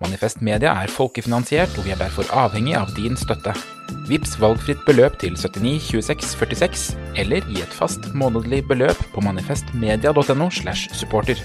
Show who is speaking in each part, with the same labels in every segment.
Speaker 1: Manifest Media er folkefinansiert, og vi er derfor avhengig av din støtte. Vips valgfritt beløp til 79 26 46, eller gi et fast månedlig beløp på manifestmedia.no slash supporter.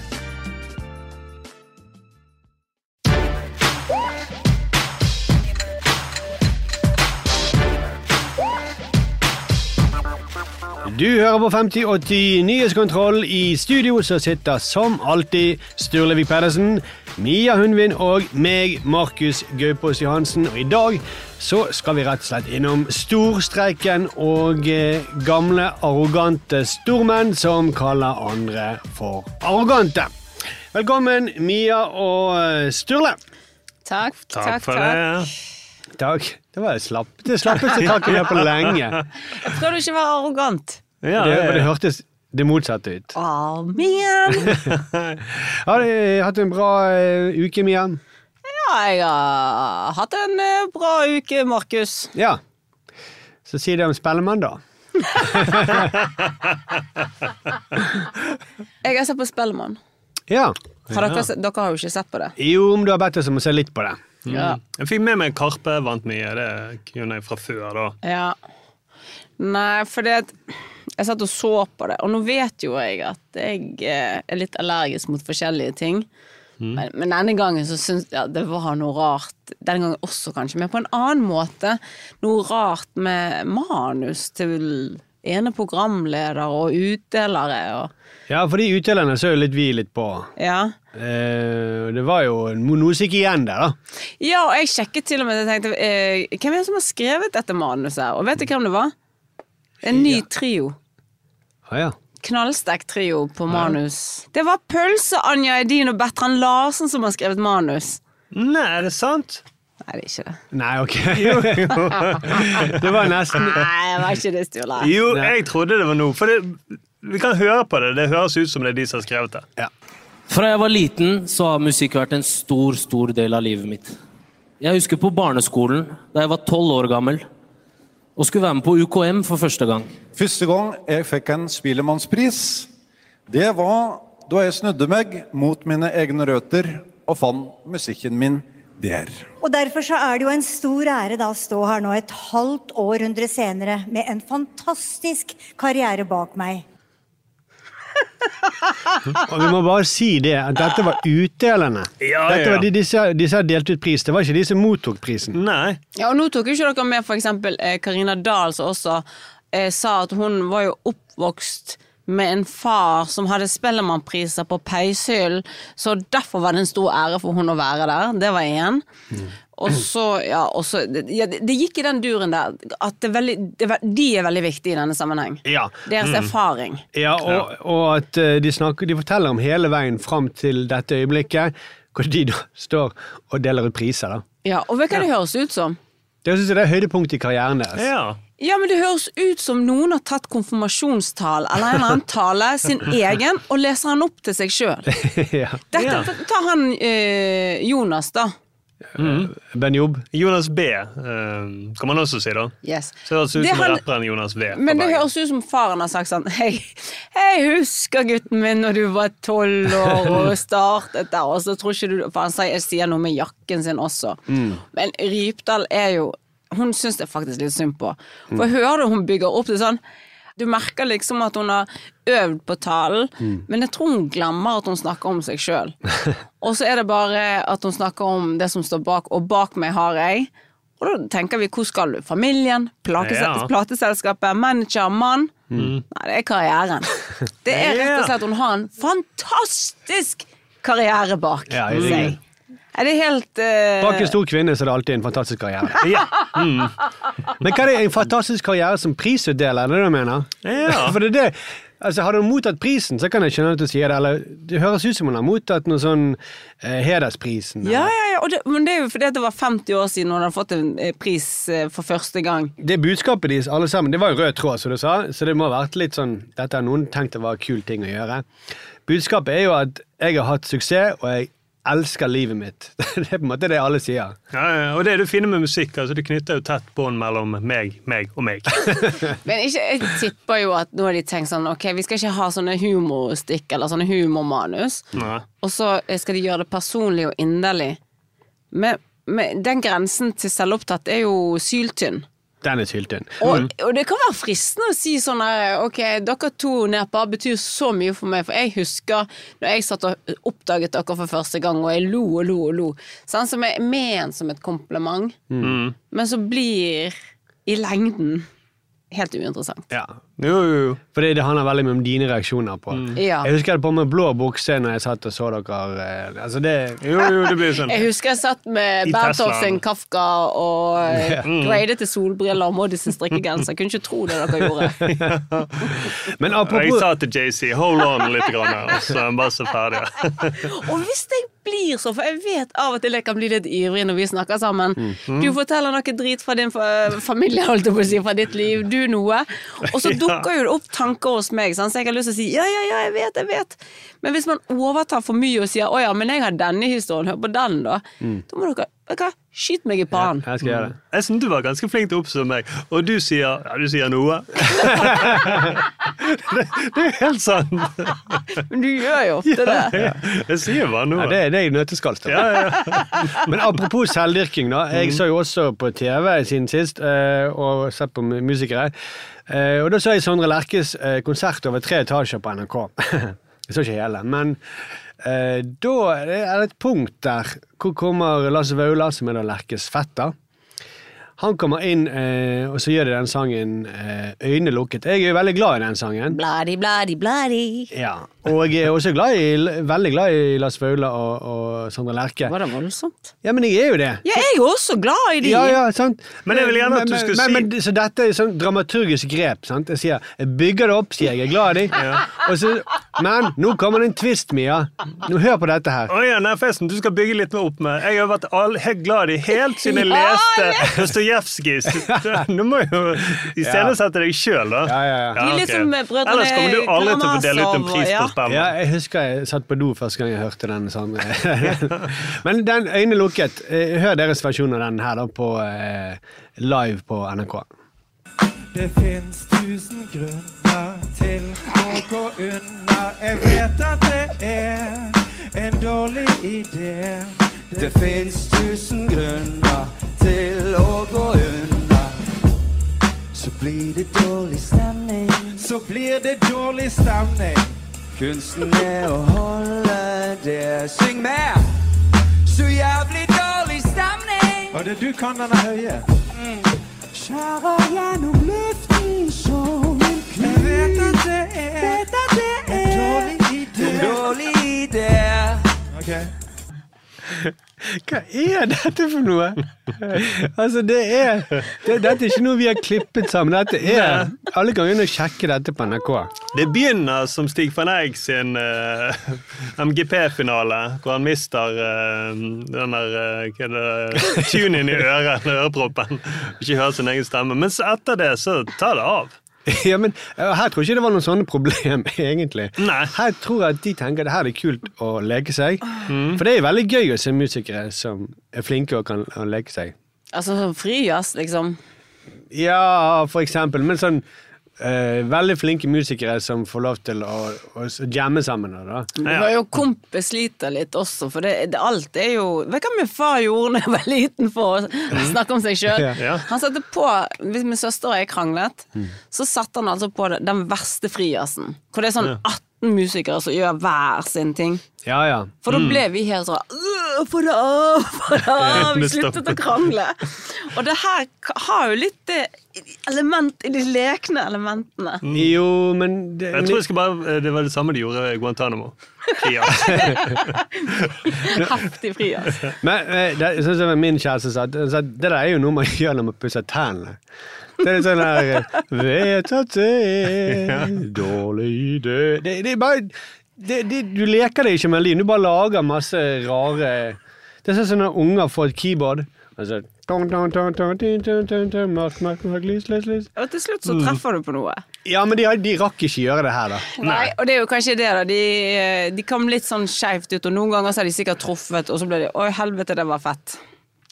Speaker 2: Du hører på 5080 Nyhetskontroll. I studio så sitter som alltid Sturlevik Pedersen, Mia Hundvin og meg, Markus Gaupås Johansen. Og i dag så skal vi rett og slett innom storstreiken og eh, gamle, arrogante stormenn som kaller andre for arrogante. Velkommen, Mia og eh, Sturle.
Speaker 3: Takk, takk,
Speaker 4: Takk for det.
Speaker 2: Takk. Det var det slapp- det slappeste takket vi har på lenge.
Speaker 3: takk. Skal du ikke være arrogant?
Speaker 4: Ja,
Speaker 2: Det, det
Speaker 4: ja.
Speaker 2: hørtes det motsatte ut.
Speaker 3: Amen.
Speaker 2: Har du hatt en bra eh, uke, Mia?
Speaker 3: Ja, jeg har hatt en eh, bra uke, Markus.
Speaker 2: Ja. Så si det om Spellemann, da.
Speaker 3: Jeg har sett på Spellemann.
Speaker 2: Ja.
Speaker 3: Har dere, se- dere har jo ikke sett på det.
Speaker 2: Jo, om du har bedt oss om å se litt på det.
Speaker 3: Ja.
Speaker 4: Jeg fikk med meg Karpe vant mye, det kunne jeg fra før da.
Speaker 3: Ja. Nei, fordi at jeg satt og så på det, og nå vet jo jeg at jeg eh, er litt allergisk mot forskjellige ting. Men, men denne gangen så syns jeg ja, det var noe rart. Denne gangen også, kanskje, men på en annen måte. Noe rart med manus til ene programleder og utdelere og
Speaker 2: Ja, for de utdelerne så jo litt vi litt på.
Speaker 3: Ja.
Speaker 2: Eh, og det var jo noe som gikk igjen der, da.
Speaker 3: Ja, og jeg sjekket til og med. Jeg tenkte, eh, hvem er det som har skrevet dette manuset? her? Og vet du hvem det var? En ny trio.
Speaker 2: Ah, ja.
Speaker 3: knallstekt trio på manus. Det var Pølse, Anja Edin og Bertrand Larsen som har skrevet manus.
Speaker 4: Nei, er det sant?
Speaker 3: Nei, det er ikke det.
Speaker 2: Nei, ok. Jo, jo. det var nesten
Speaker 3: Nei, det var ikke det, Sturle.
Speaker 4: Jo, jeg trodde det var noe, for det, vi kan høre på det. Det høres ut som det er de som har skrevet det.
Speaker 2: ja.
Speaker 5: Fra jeg var liten, så har musikk vært en stor, stor del av livet mitt. Jeg husker på barneskolen, da jeg var tolv år gammel, og skulle være med på UKM for første gang.
Speaker 6: Første gang jeg fikk en Spillemannspris, det var da jeg snudde meg mot mine egne røtter og fant musikken min der.
Speaker 7: Og derfor så er det jo en stor ære da å stå her nå et halvt århundre senere med en fantastisk karriere bak meg.
Speaker 2: Og vi må bare si det, at dette var utdelerne.
Speaker 4: Ja, ja,
Speaker 2: Dette var
Speaker 4: ja. Mm.
Speaker 2: de, disse, disse har delt ut pris. Det var ikke de som mottok prisen.
Speaker 4: Nei.
Speaker 3: Ja, og nå tok jo ikke dere med for eksempel eh, Karina Dahl, som også eh, sa at hun var jo oppvokst med en far som hadde Spellemannpriser på Peishyllen, så derfor var det en stor ære for hun å være der. Det var én. Og så, ja, og så ja, det, det gikk i den duren der at det er veldig, det, er ve- de er veldig viktige i denne sammenheng.
Speaker 2: Ja.
Speaker 3: Deres erfaring.
Speaker 2: Ja, og, og at eh, de, snakker, de forteller om hele veien fram til dette øyeblikket, hvor de da står og deler ut priser. da.
Speaker 3: Ja, og vet du hva det høres ut som?
Speaker 2: Det synes jeg det er høydepunktet i karrieren deres.
Speaker 4: Ja.
Speaker 3: Ja, men Det høres ut som noen har tatt konfirmasjonstall eller en eller annen tale, sin egen, og leser han opp til seg sjøl.
Speaker 2: ja.
Speaker 3: Dette,
Speaker 4: Ja.
Speaker 3: Ta han eh, Jonas, da.
Speaker 2: Ben Jobb.
Speaker 4: Jonas B, eh, kan man også si, da.
Speaker 3: Yes.
Speaker 4: Så det
Speaker 3: altså
Speaker 4: høres ut
Speaker 3: Det
Speaker 4: som
Speaker 3: han-
Speaker 4: rapperen Jonas V. fra
Speaker 3: Men det
Speaker 4: Bergen.
Speaker 3: høres ut som faren har sagt sånn Hei, jeg husker gutten min når du var tolv år og startet der, og så tror ikke du For han sier, jeg sier noe med jakken sin også. Men Rypdal er jo Hun syns det er faktisk litt synd på. For jeg hører hun bygger opp til sånn du merker liksom at hun har øvd på talen, men jeg tror hun glemmer at hun snakker om seg sjøl. Og så er det bare at hun snakker om det som står bak, og bak meg har jeg. Og da tenker vi hvor skal du? Familien? Plakese
Speaker 4: Ja.
Speaker 3: plateselskapet, manager, mann.
Speaker 2: Mm.
Speaker 3: Nei, det er karrieren. Det er rett og slett Hun har en fantastisk karriere bak
Speaker 2: Ja, i
Speaker 3: seg.
Speaker 2: ringen.
Speaker 3: Er det helt eh,
Speaker 2: Bak en stor kvinne så er det alltid en fantastisk karriere.
Speaker 4: Ja.
Speaker 2: Men hva er det en fantastisk karriere som prisutdeler, er det det du mener?
Speaker 4: Ja.
Speaker 2: For det er det. Altså, Hadde hun mottatt prisen, så kan jeg skjønne at du sier det. Eller det høres ut som hun har mottatt noe sånn eh, Hedersprisen.
Speaker 3: Ja, ja, ja. Og det, men det er jo fordi at det var 50 år siden hun hadde fått en eh, pris eh, for første gang.
Speaker 2: Det budskapet deres, alle sammen, det var jo rød tråd, som du sa, så det må ha vært litt sånn Dette har noen tenkt det var en kul ting å gjøre. Budskapet er jo at jeg har hatt suksess, og jeg elsker livet mitt. Det er på en måte det alle sier.
Speaker 4: Ja, ja, og det er det fine med musikk. altså Det knytter jo tett bånd mellom meg, meg og meg.
Speaker 3: Men ikke, jeg tipper jo at nå har de tenkt sånn Ok, vi skal ikke ha sånne humorstikk eller sånne humormanus.
Speaker 4: Nei.
Speaker 3: Og så eh, skal de gjøre det personlig og inderlig. Men, men den grensen til selvopptatt er jo syltynn.
Speaker 2: Den er syltynn.
Speaker 3: Og, og det kan være fristende å si sånn her Ok, dere to nedpå betyr så mye for meg, for jeg husker når jeg satt og oppdaget dere for første gang, og jeg lo og lo og lo. Sånn som er ment som et kompliment, men som blir i lengden helt uinteressant.
Speaker 2: Ja.
Speaker 4: Jo, jo, jo.
Speaker 2: For det, det handler veldig mye om dine reaksjoner på.
Speaker 4: Mm.
Speaker 3: Ja.
Speaker 2: Jeg husker jeg hadde på meg blå bukse når jeg satt og så dere. eh, Altså det,
Speaker 4: Jo, jo, det blir sånn.
Speaker 3: Jeg husker jeg satt med
Speaker 4: I
Speaker 3: Bernthoff
Speaker 4: Teslaen.
Speaker 3: sin Kafka og eh, Grade til solbriller og Moddi sin strikkegenser. Kunne ikke tro det dere gjorde.
Speaker 2: men
Speaker 4: Og jeg
Speaker 2: apropos
Speaker 4: sa til JC 'hold on' litt, grann her, og så er han bare så ferdig.
Speaker 3: Og hvis jeg blir sånn, for jeg vet av og til jeg kan bli litt ivrig når vi snakker sammen Du forteller noe drit fra din fa familie, holdt jeg på å si, fra ditt liv, du noe. Og så dukker jo det opp tanker hos meg, sant? så jeg har lyst til å si ja, ja, ja, jeg vet, jeg vet. Men hvis man overtar for mye og sier å ja, men jeg har denne historien, hør på den, da. Da må dere vet du hva, skyte meg i pannen.
Speaker 2: Jeg skal gjøre det.
Speaker 4: Jeg synes du var ganske flink til å oppsummere meg, og du sier ja, du sier noe. det, det er helt sant.
Speaker 3: Men du gjør jo ofte det.
Speaker 4: Jeg sier bare noe.
Speaker 2: Ja, det, det er i nøtteskallstad.
Speaker 4: Ja, ja. Mhm.
Speaker 2: Men apropos selvdyrking, da. Jeg så jo også på TV siden sist, eh, og sett på mu- musikere. Eh, Og da så jeg Sondre Lerches eh, konsert over tre etasjer på NRK. Jeg så ikke hele, men eh, da er det et punkt der hvor kommer Lasse Vaular, som er da Lerches fetter. Han kommer inn, eh, og så gjør de den sangen eh, 'Øynene lukket'. Jeg er jo veldig glad i den sangen.
Speaker 3: Bladi, bladi, bladi.
Speaker 2: Ja, Og jeg er også glad i, veldig glad i Lasse Vaular og, og Sondre Lerche.
Speaker 3: Var det voldsomt?
Speaker 2: Ja, men jeg er jo det.
Speaker 3: Ja, jeg er jo også glad i de.
Speaker 2: Ja, ja, sant.
Speaker 4: Men jeg vil gjerne at du
Speaker 2: Men-
Speaker 4: skulle
Speaker 2: men,
Speaker 4: si-
Speaker 2: men, Så dette er sånn dramaturgisk grep. sant? Jeg sier, jeg bygger det opp, sier jeg, jeg er glad i deg. Og så- Men nå kommer det en twist, Mia. Nå Hør på dette her.
Speaker 4: Å ja, nei, forresten, du skal bygge litt mer opp med Jeg har vært all, helt glad i helt siden jeg
Speaker 3: Ja,
Speaker 4: leste Dostojevskijs Nå må jeg jo iscenesette deg sjøl, da.
Speaker 2: Ja, ja, ja.
Speaker 3: Du er litt
Speaker 4: ok.
Speaker 3: som, eh, brødrene
Speaker 4: Ellers kommer du aldri til å få dele ut en
Speaker 3: Karamazov,
Speaker 4: pris på
Speaker 3: ja.
Speaker 4: Spellemann.
Speaker 2: Ja, jeg husker jeg satt på do første gang jeg hørte den sangen. Men den øynene lukket. Eh, Hør deres versjon av den her da på eh, live på NRK.
Speaker 8: Det fins tusen grunner til å gå unna. Jeg vet at det er en dårlig idé. Det fins tusen grunner til å gå unna. Så blir det dårlig stemning. Så blir det dårlig stemning. Kunsten er å holde det. Syng med! Så jævlig dårlig stemning. Og det du kan, den er høye. Skjærer gjennom luften som en kniv. Jeg vet at det er, vet at det er en dårlig idé. En dårlig idé.
Speaker 2: Hva er dette for noe? Altså, det er det, Dette er ikke noe vi har klippet sammen. Dette er Alle kan gå inn og sjekke dette på NRK.
Speaker 4: Det begynner som Stig van Eyck sin eh, MGP-finale, hvor han mister eh, den der eh, hva er det, tunen i øret, eller øreproppen, og ikke hører sin egen stemme. Mens etter det så tar det av.
Speaker 2: Ja, men eh, Her tror jeg ikke det var noen sånne problem, egentlig.
Speaker 4: Nei.
Speaker 2: Her tror jeg at de tenker det her er kult å leke seg.
Speaker 4: Mm.
Speaker 2: For det er veldig gøy å se musikere som er flinke og kan å leke seg.
Speaker 3: Altså sånn frijazz, liksom.
Speaker 2: Ja, for eksempel. Men sånn eh, veldig flinke musikere som får lov til å, å s- jamme sammen. og Da.
Speaker 3: Det var jo kompis sliter litt også, for det, det, alt er jo Vet du hva min far gjorde da jeg var liten for å snakke om seg sjøl?
Speaker 4: Mm. Ja. Mm.
Speaker 3: Han satte på Hvis min søster og jeg kranglet, så satte han altså på det- den verste frijazzen. Hvor det er sånn 18 musikere som gjør hver sin ting.
Speaker 2: Ja, ja.
Speaker 3: For da ble vi helt sånn «Øh, Få det av! Få det av! Vi
Speaker 4: Det
Speaker 3: sluttet
Speaker 4: stopper.
Speaker 3: å krangle. Og det her k- har jo litt det element i de lekne elementene.
Speaker 2: Jo, men det,
Speaker 4: Jeg
Speaker 2: men
Speaker 4: tror jeg skal bare, eh, det var det samme de gjorde i Guantánamo. Ja.
Speaker 3: Heftig frijazz.
Speaker 2: Men eh, det, sånn som min kjæreste sa, det, sa, det der er jo noe man gjør når man pusser tennene. Det er litt sånn her eh, Vet at det er dårlig idé det, det er bare det, det, Du leker deg ikke med melodien, du bare lager masse rare Det er sånn som når unger får et keyboard. Altså, tong, tong, tong, tong, ting, tong, tong, tong, mørk, mørk, mørk, lys, lys, lys.
Speaker 3: Og til slutt så treffer du på noe.
Speaker 2: Ja, men de, har- de rakk ikke gjøre det her, da.
Speaker 3: Nei, og det er jo kanskje det, da. De, eh, de kom litt sånn skeivt ut, og noen ganger så har de sikkert truffet, og så ble de Oi, helvete, det var fett.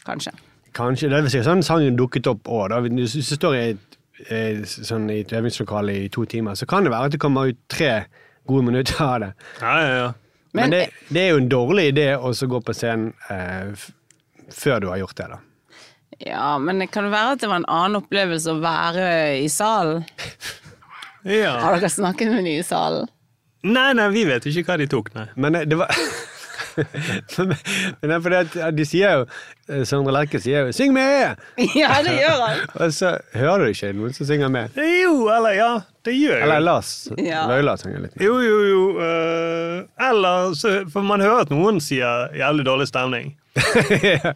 Speaker 3: Kanskje.
Speaker 2: Kanskje. Det er vel sikkert sånn sangen dukket opp òg. Hvis hvis du står i et, eh, sånn, i et øvingslokale i to timer, så kan det være at det kommer ut tre gode minutter av det.
Speaker 4: Ja, ja, ja.
Speaker 2: Men,
Speaker 3: Men-
Speaker 2: det, det er jo en dårlig idé å så gå på scenen eh, f før du har gjort det, da.
Speaker 3: eh, Ja, men det kan jo være at det var en annen opplevelse å være i salen.
Speaker 4: Ja.
Speaker 3: Har dere snakket med nye i salen?
Speaker 4: Nei, nei, vi vet ikke hva de tok, nei.
Speaker 2: Men eh, det var Men det er fordi at de sier jo eh, Sondre Lerche sier jo 'syng med'!
Speaker 3: Ja, det gjør han.
Speaker 2: Og så hører du ikke noen som synger med.
Speaker 4: Jo, eller ja, det gjør
Speaker 2: Eller
Speaker 4: jeg. jo.
Speaker 2: Lars
Speaker 3: Ja.
Speaker 2: Vaular synger litt.
Speaker 4: Jo, jo, jo. eh, eller så For man hører at noen sier 'jævlig dårlig stemning'.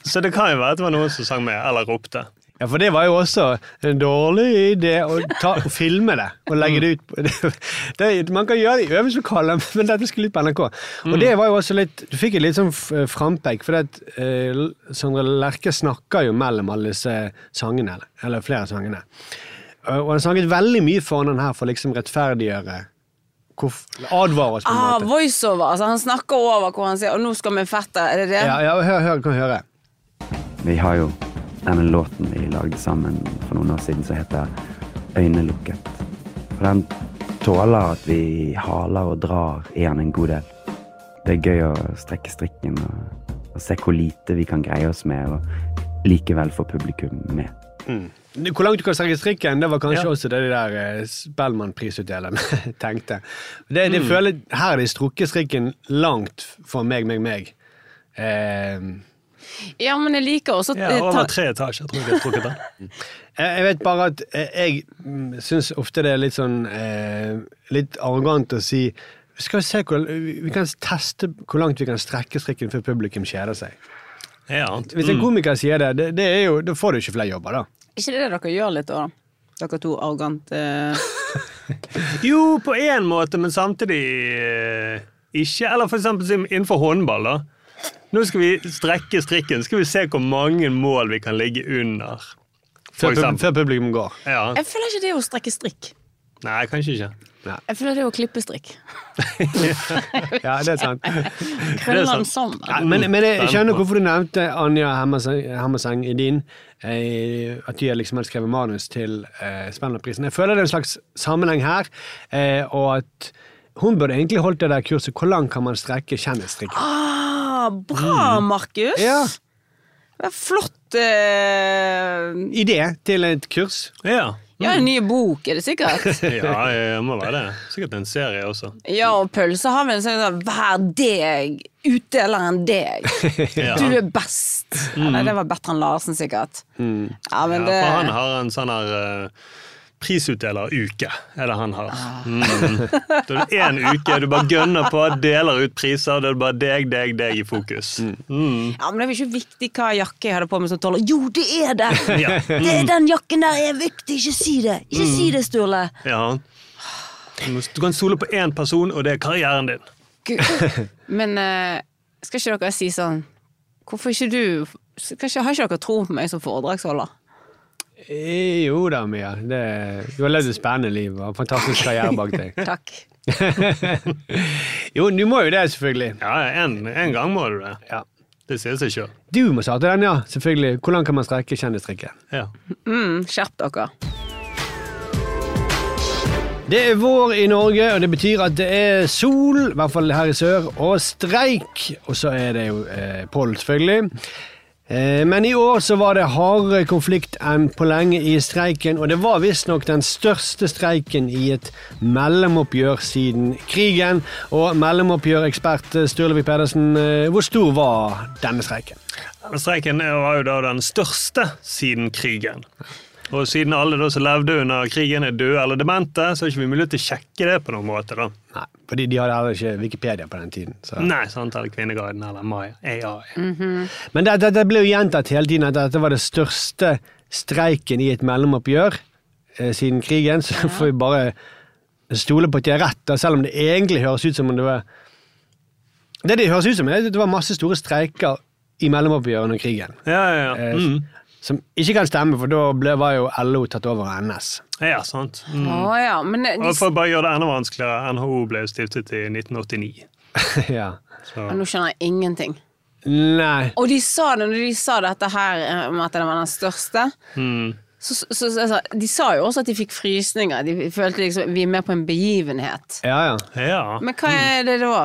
Speaker 4: Så det kan jo være at det var noen som sang med, eller ropte.
Speaker 2: Ja, for det var jo også en dårlig idé å, ta, å filme det og legge det ut. på- Det, man kan gjøre det i øvingslokalet, men dette skulle ut på NRK. Og det var jo også litt, Du fikk et litt sånn f- frampek, for at, eh, Sondre Lerche snakker jo mellom alle disse sangene, eller- eller flere sangene. Eh, Og han snakket veldig mye foran den her for liksom rettferdiggjøre hvorf- Advare oss, på en
Speaker 3: Ah,
Speaker 2: måte.
Speaker 3: voiceover. Altså, han snakker over hvor han sier 'Å, nå skal vi fette'. Er det det?
Speaker 2: Ja, ja, hør, hør, kan høre.
Speaker 9: Vi har jo denne låten vi lagde sammen for noen år siden som heter Øynelukket. For den tåler at vi haler og drar i den en god del. Det er gøy å strekke strikken og, og se hvor lite vi kan greie oss med, og likevel få publikum med.
Speaker 2: Hvor langt du kan strekke strikken, det var kanskje
Speaker 4: Ja.
Speaker 2: også det de der eh, Spellemann-prisutdelerne tenkte. Det,
Speaker 4: Mm.
Speaker 2: det føler, her er de strukket strikken langt for meg, meg, meg. Eh,
Speaker 3: Ja, men jeg liker også
Speaker 4: Ja,
Speaker 3: eh,
Speaker 4: Over
Speaker 3: ta-
Speaker 4: tre etasjer, tror jeg de har trukket den.
Speaker 2: jeg jeg vet bare at eh, jeg syns ofte det er litt sånn eh, Litt arrogant å si vi skal se hvor, vi kan teste hvor langt vi kan strekke strikken før publikum kjeder seg.
Speaker 4: Ja.
Speaker 2: Hvis en komiker sier det, det, det er jo, da får du ikke flere jobber, da.
Speaker 3: ikke det dere gjør litt, da? Dere to eh. arrogante
Speaker 4: Jo, på én måte, men samtidig eh, ikke. Eller for eksempel sim- innenfor håndball. da. Nå skal vi strekke strikken. Skal vi se hvor mange mål vi kan ligge under.
Speaker 2: Før,
Speaker 4: For
Speaker 2: pub-
Speaker 4: eksempel.
Speaker 2: før publikum går.
Speaker 4: Ja.
Speaker 3: Jeg føler ikke det er å strekke strikk.
Speaker 4: Nei, kanskje ikke.
Speaker 3: Jeg føler det er å klippe strikk.
Speaker 2: Ja, det er sant.
Speaker 3: Krølle den sånn.
Speaker 4: sant.
Speaker 3: sammen.
Speaker 2: Ja, men, men jeg skjønner
Speaker 4: Stemmer.
Speaker 2: hvorfor du nevnte Anja Hammerseng, Hammerseng i din. Eh, at de har liksom hadde skrevet manus til eh, Spellemannprisen. Jeg føler det er en slags sammenheng her, eh, og at hun burde egentlig holdt det der kurset. Hvor langt kan man strekke kjendisstrikken?
Speaker 3: Ah, bra, Markus!
Speaker 2: Ja,
Speaker 3: Det er Flott eh,
Speaker 2: idé til et kurs.
Speaker 4: Ja.
Speaker 3: Ja, en ny bok, er det sikkert?
Speaker 4: ja, det må være det. Sikkert en serie også.
Speaker 3: Ja, og pølse har vel en sånn der, 'vær deg, utdeleren deg'.
Speaker 4: Ja.
Speaker 3: Du er best! Ja, nei, det var Bertrand Larsen, sikkert. Ja,
Speaker 4: Ja,
Speaker 3: men det
Speaker 4: for han har en sånn her uh, prisutdeleruke, er det han har.
Speaker 3: Ah.
Speaker 4: Mm. Da er det én uke du bare gønner på, deler ut priser, da er det bare deg, deg, deg i fokus. Mm.
Speaker 3: Ja, men det er jo ikke viktig hva jakke jeg hadde på meg som tolv. Jo, det er det!
Speaker 4: Ja.
Speaker 3: det den jakken der er viktig, ikke si det! Ikke si det, Sturle!
Speaker 4: Ja. Du må- Du kan stole på én person, og det er karrieren din.
Speaker 3: Gud. Men eh, skal ikke dere si sånn Hvorfor ikke du skal ikke, Har ikke dere tro på meg som foredragsholder?
Speaker 2: Eh, Jo da, Mia. Det, du har levd et spennende liv og har en fantastisk karriere bak deg.
Speaker 3: Takk.
Speaker 2: jo, du må jo det, selvfølgelig.
Speaker 4: Ja, en, en gang må du det. Det sier seg sjøl.
Speaker 2: Du må starte den, ja. Selvfølgelig. Hvordan kan man strekke kjendistrikken?
Speaker 4: Ja.
Speaker 3: Mm, skjerp dere.
Speaker 2: Det er vår i Norge, og det betyr at det er sol, i hvert fall her i sør, og streik. Og så er det jo eh, poll, selvfølgelig. Eh, men i år så var det hardere konflikt enn på lenge i streiken, og det var visstnok den største streiken i et mellomoppgjør siden krigen. Og mellomoppgjørekspert Sturlevik Pedersen, eh, hvor stor var denne streiken?
Speaker 4: Men Streiken var jo da den største siden krigen. Og siden alle da som levde under krigen er døde eller demente, så har ikke vi mulighet til å sjekke det på noen måte. da.
Speaker 2: Nei, fordi de hadde heller ikke Wikipedia på den tiden. Så.
Speaker 4: Nei, sant, eller Kvinneguiden eller Maya. AI.
Speaker 2: Men det, det, det ble jo gjentatt hele tiden at dette var det største streiken i et mellomoppgjør eh, siden krigen, så får vi bare stole på at de har rett, da, selv om det egentlig høres ut som om det var Det det høres ut som, er at det var masse store streiker i mellomoppgjøret under krigen.
Speaker 4: Ja, ja, ja.
Speaker 2: Eh,
Speaker 4: Mm.
Speaker 2: Som ikke kan stemme, for da ble, var jo LO tatt over av NS.
Speaker 4: ja sant. Mm.
Speaker 3: Å ja, men eh, de,
Speaker 4: Og for å bare gjøre det enda vanskeligere, NHO ble jo stiftet i 1989.
Speaker 2: ja.
Speaker 4: Så.
Speaker 3: Nå skjønner jeg ingenting.
Speaker 2: Nei.
Speaker 3: Og de sa det når de sa dette her eh, om at det var den største.
Speaker 4: Mm.
Speaker 3: Så, så, så, så, de sa jo også at de fikk frysninger. De følte liksom vi er med på en begivenhet.
Speaker 2: Ja, ja.
Speaker 4: Ja.
Speaker 3: Men hva er det da?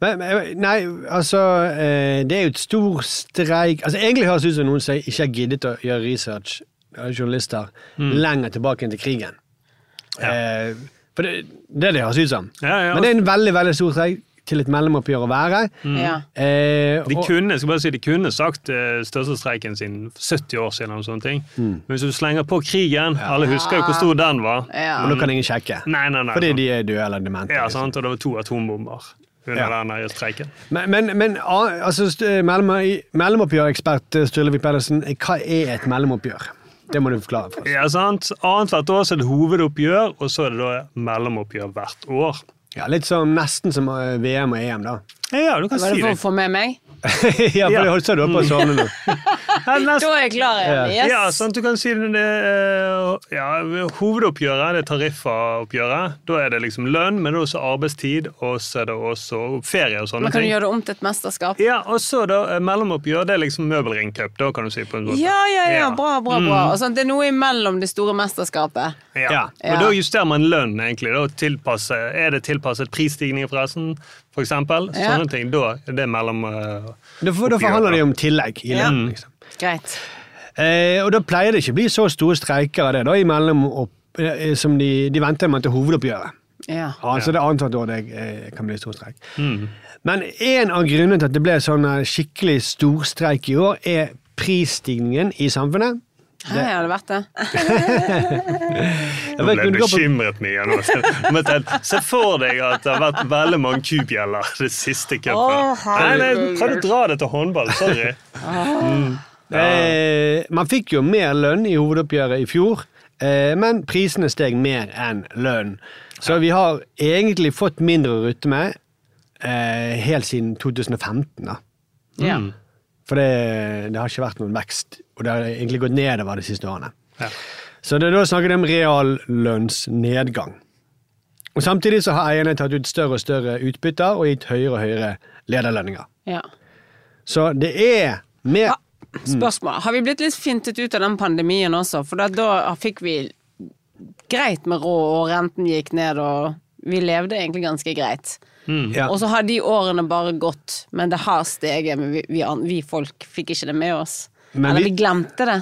Speaker 2: Men, men- nei, altså eh, Det er jo et stor streik altså Egentlig høres det ut som noen som ikke har giddet å gjøre research, eh, journalister,
Speaker 4: Mm.
Speaker 2: lenger tilbake enn til krigen. Eh, for det det er det det høres ut som.
Speaker 4: Ja, ja. altså-
Speaker 2: Men det er en veldig veldig stor streik til et mellomoppgjør å være.
Speaker 4: Mm.
Speaker 3: Ja.
Speaker 2: Eh,
Speaker 4: De
Speaker 2: og-
Speaker 4: kunne, jeg skal bare si, de kunne sagt eh, største streiken sin 70 år siden. eller sånne ting. Men hvis du slenger på krigen Alle husker jo hvor stor den var.
Speaker 3: Ja.
Speaker 2: og nå kan ingen sjekke.
Speaker 4: Nei, nei, nei.
Speaker 2: Fordi de er døde eller demente.
Speaker 4: Ja, altså.
Speaker 2: liksom.
Speaker 4: sant? Og det var to atombomber under
Speaker 2: Ja.
Speaker 4: den der streiken.
Speaker 2: Men, men, men a- altså, st- mellom, mellomoppgjørekspert Sturlevik Pedersen, hva er et mellomoppgjør? Det må du forklare for oss.
Speaker 4: Ja, sant? Annethvert år så er det hovedoppgjør, og så er det da mellomoppgjør hvert år.
Speaker 2: Ja, litt som, nesten som eh, VM og EM, da.
Speaker 4: Ja, du kan
Speaker 3: Var det
Speaker 4: si
Speaker 3: for
Speaker 4: det.
Speaker 3: å få med meg?
Speaker 2: ja, Mm. for
Speaker 4: Ja.
Speaker 2: det holdt seg du oppe og sovne nå.
Speaker 4: Ja, nesten.
Speaker 3: Da er jeg klar igjen. Yes.
Speaker 4: Ja, sant? Du kan si det, eh, ja, Hovedoppgjøret det er tariffoppgjøret. Da er det liksom lønn, men det er også arbeidstid, og så er det også ferie og sånne
Speaker 3: Men kan du
Speaker 4: ting.
Speaker 3: gjøre det om til et mesterskap?
Speaker 4: Ja, og så da eh, mellomoppgjør, det er liksom Møbelring Cup, da kan du si på en måte.
Speaker 3: Ja, ja, ja.
Speaker 4: Ja.
Speaker 3: Bra, bra, bra. Og sånn, det er noe imellom det store mesterskapet.
Speaker 4: Ja.
Speaker 3: Ja.
Speaker 4: Og da justerer man lønn, egentlig. Da tilpasser- er det tilpasset prisstigning, forresten? For eksempel.
Speaker 3: Ja.
Speaker 4: Sånne ting. Da er det mellom eh,
Speaker 2: Da, for, da forhandler de om tillegg i
Speaker 3: Ja.
Speaker 2: lønnen. Liksom.
Speaker 3: Greit.
Speaker 2: Eh, og da pleier det ikke bli så store streiker av det da, imellom opp, eh, som de, de venter med til hovedoppgjøret.
Speaker 3: Ja.
Speaker 2: Altså det er antatt år det eh, kan bli stor streik. Men en av grunnene til at det ble sånn eh, skikkelig storstreik i år, er prisstigningen i samfunnet.
Speaker 3: Her har det vært det.
Speaker 2: Jeg
Speaker 4: Nå
Speaker 2: vet
Speaker 4: ble jeg
Speaker 2: ikke om det går på-
Speaker 4: bekymret mye nå. Men tenk, Se for deg at det har vært veldig mange kubjeller det siste cupet.
Speaker 3: Å,
Speaker 4: nei,
Speaker 3: herregud.
Speaker 4: nei, prøv å dra det til håndball. Sorry.
Speaker 2: Eh, man fikk jo mer lønn i hovedoppgjøret i fjor, eh, men prisene steg mer enn lønn. Så vi har egentlig fått mindre å rutte med eh, helt siden 2015. da.
Speaker 3: Ja.
Speaker 4: Mm.
Speaker 2: For det, det har ikke vært noen vekst, og det har egentlig gått nedover de siste årene. Så det er da snakker de om reallønnsnedgang. Og Samtidig så har eierne tatt ut større og større utbytter og gitt høyere og høyere lederlønninger.
Speaker 3: ja.
Speaker 2: Så det er mer
Speaker 3: Ah, Spørsmål. Har vi blitt litt fintet ut av den pandemien også? For da, da fikk vi greit med råd, og renten gikk ned, og vi levde egentlig ganske greit.
Speaker 2: Ja.
Speaker 3: Og så har de årene bare gått, men det har steget. Men vi, vi, an- vi folk fikk ikke det med oss.
Speaker 2: Men
Speaker 3: Eller
Speaker 2: vi-
Speaker 3: vi glemte det.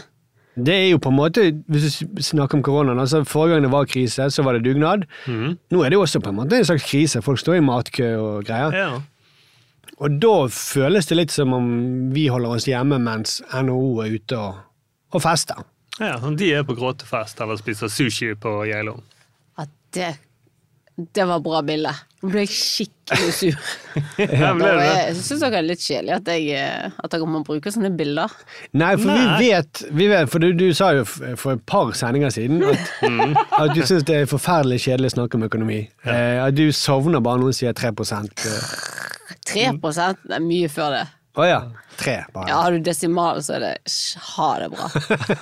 Speaker 2: Det er jo på en måte, hvis du s- snakker om koronaen, altså forrige gang det var krise, så var det dugnad.
Speaker 4: Mhm.
Speaker 2: Nå er det jo også på en måte en slags krise, folk står i matkø og greier.
Speaker 4: Ja.
Speaker 2: Og da føles det litt som om vi holder oss hjemme mens NHO er ute og, og fester.
Speaker 4: Ja, sånn, de er på gråtefest eller spiser sushi på Geilo.
Speaker 3: At det, det var bra bilde. Nå ble jeg skikkelig sur.
Speaker 4: Ja,
Speaker 3: Og
Speaker 4: men det er det.
Speaker 3: jeg syns dere er litt kjedelige at, jeg, eh, at dere må bruke sånne bilder.
Speaker 2: Nei, for
Speaker 4: Nei.
Speaker 2: vi vet, vi vet for du, du sa jo f- for et par sendinger siden at, Mhm. at du syns det er forferdelig kjedelig å snakke om økonomi. Eh, at du sovner bare når noen sier 3 eh,
Speaker 4: Mm.
Speaker 3: 3 det er mye før det.
Speaker 2: Å ja. Tre, bare.
Speaker 3: Ja, har du desimal, så er det sj, ha det bra.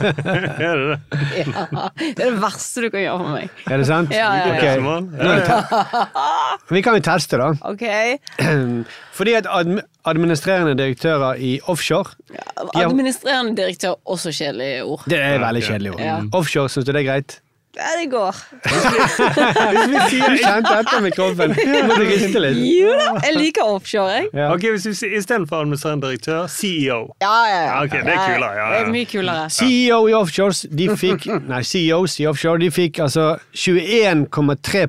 Speaker 4: er det det?
Speaker 3: Ja, det er det verste du kan gjøre for meg.
Speaker 2: Er det sant?
Speaker 3: Ja, ja, ja.
Speaker 2: Ok.
Speaker 4: Desimal?
Speaker 2: Nå er det te- Vi kan jo teste, da.
Speaker 3: Ok.
Speaker 2: Fordi at adm administrerende direktører i offshore de har,
Speaker 3: Administrerende direktør, også kjedelig ord.
Speaker 2: Det er veldig kjedelig ord.
Speaker 3: Ja.
Speaker 2: Offshore, syns du det er greit?
Speaker 3: Ja, det går.
Speaker 2: Du kjente etter med kroppen. Nå må du riste litt.
Speaker 3: Jo da, jeg liker offshore, jeg.
Speaker 2: Ja.
Speaker 4: Ok, hvis vi sier Istedenfor administrerende direktør, CEO.
Speaker 3: Ja, ja, ja.
Speaker 4: Ja, ok, det er kulere, ja, ja.
Speaker 3: Det er mye kulere.
Speaker 2: CEO E i offshores, de fikk, nei, CEOs i offshore, de fikk altså 21,3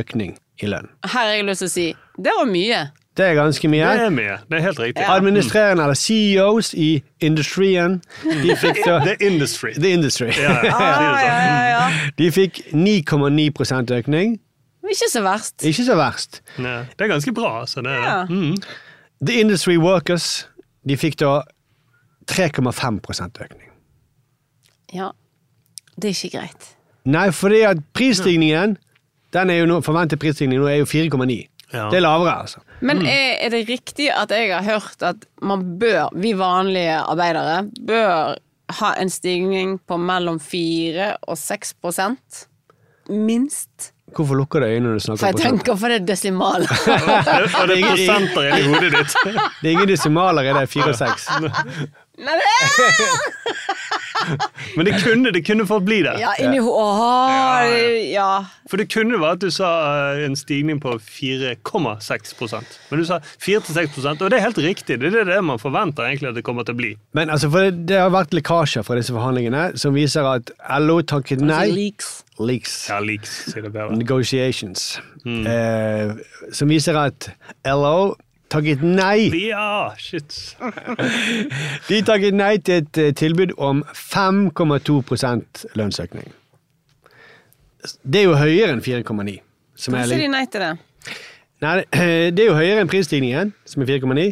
Speaker 2: økning i lønn.
Speaker 3: Her har jeg lyst til å si det var mye.
Speaker 2: Det er ganske mye.
Speaker 4: Det er mye. Det er helt riktig.
Speaker 2: Administrerende, eller CEOs i industrien, de fikk da
Speaker 4: Det er industry.
Speaker 2: The Industry.
Speaker 4: Ja, ja. Si det
Speaker 3: Ah,
Speaker 4: sånn.
Speaker 2: De fikk 9,9 økning.
Speaker 3: Men Ikke så verst.
Speaker 2: Ikke så verst.
Speaker 4: sånn. Ja. Det er ganske bra, altså. Det er det.
Speaker 3: Ja.
Speaker 2: The Industry Workers de fikk da 3,5 økning.
Speaker 3: Ja. Det er ikke greit.
Speaker 2: Nei, fordi at prisstigningen den er jo nå, forventet prisstigning nå er jo 4,9.
Speaker 4: Ja.
Speaker 2: Det er lavere, altså.
Speaker 3: Men er, er det riktig at jeg har hørt at man bør, vi vanlige arbeidere, bør ha en stigning på mellom 4 og 6 prosent? Minst.
Speaker 2: Hvorfor lukker du øynene når du snakker om
Speaker 3: For jeg
Speaker 2: prosent?
Speaker 3: tenker for det er desimal.
Speaker 4: Og det er prosenter inni hodet ditt.
Speaker 2: Det er ingen desimaler i det, 4 og 6.
Speaker 3: Nei, det er-
Speaker 4: Men det kunne, det kunne fått bli det.
Speaker 3: Ja, inni ho... Åh, ja.
Speaker 4: For det kunne være at du sa eh, en stigning på 4,6 prosent. Men du sa 4-6 prosent, og det er helt riktig. Det er det man forventer egentlig at det kommer til å bli.
Speaker 2: Men altså, for det, det har vært lekkasjer fra disse forhandlingene som viser at LO takket nei.
Speaker 3: Leaks.
Speaker 2: Leaks.
Speaker 4: Ja, leaks, sier det bedre.
Speaker 2: Negotiations. Eh, som viser at LO takket nei.
Speaker 4: Ja,
Speaker 3: Mm.
Speaker 4: shit.
Speaker 2: De takket nei til et eh, tilbud om 5,2 lønnsøkning. Det er jo høyere enn 4,9. som er
Speaker 3: Hvorfor sier
Speaker 2: litt-
Speaker 3: de nei til det?
Speaker 2: Nei, det er jo høyere enn prisstigningen, som er 4,9.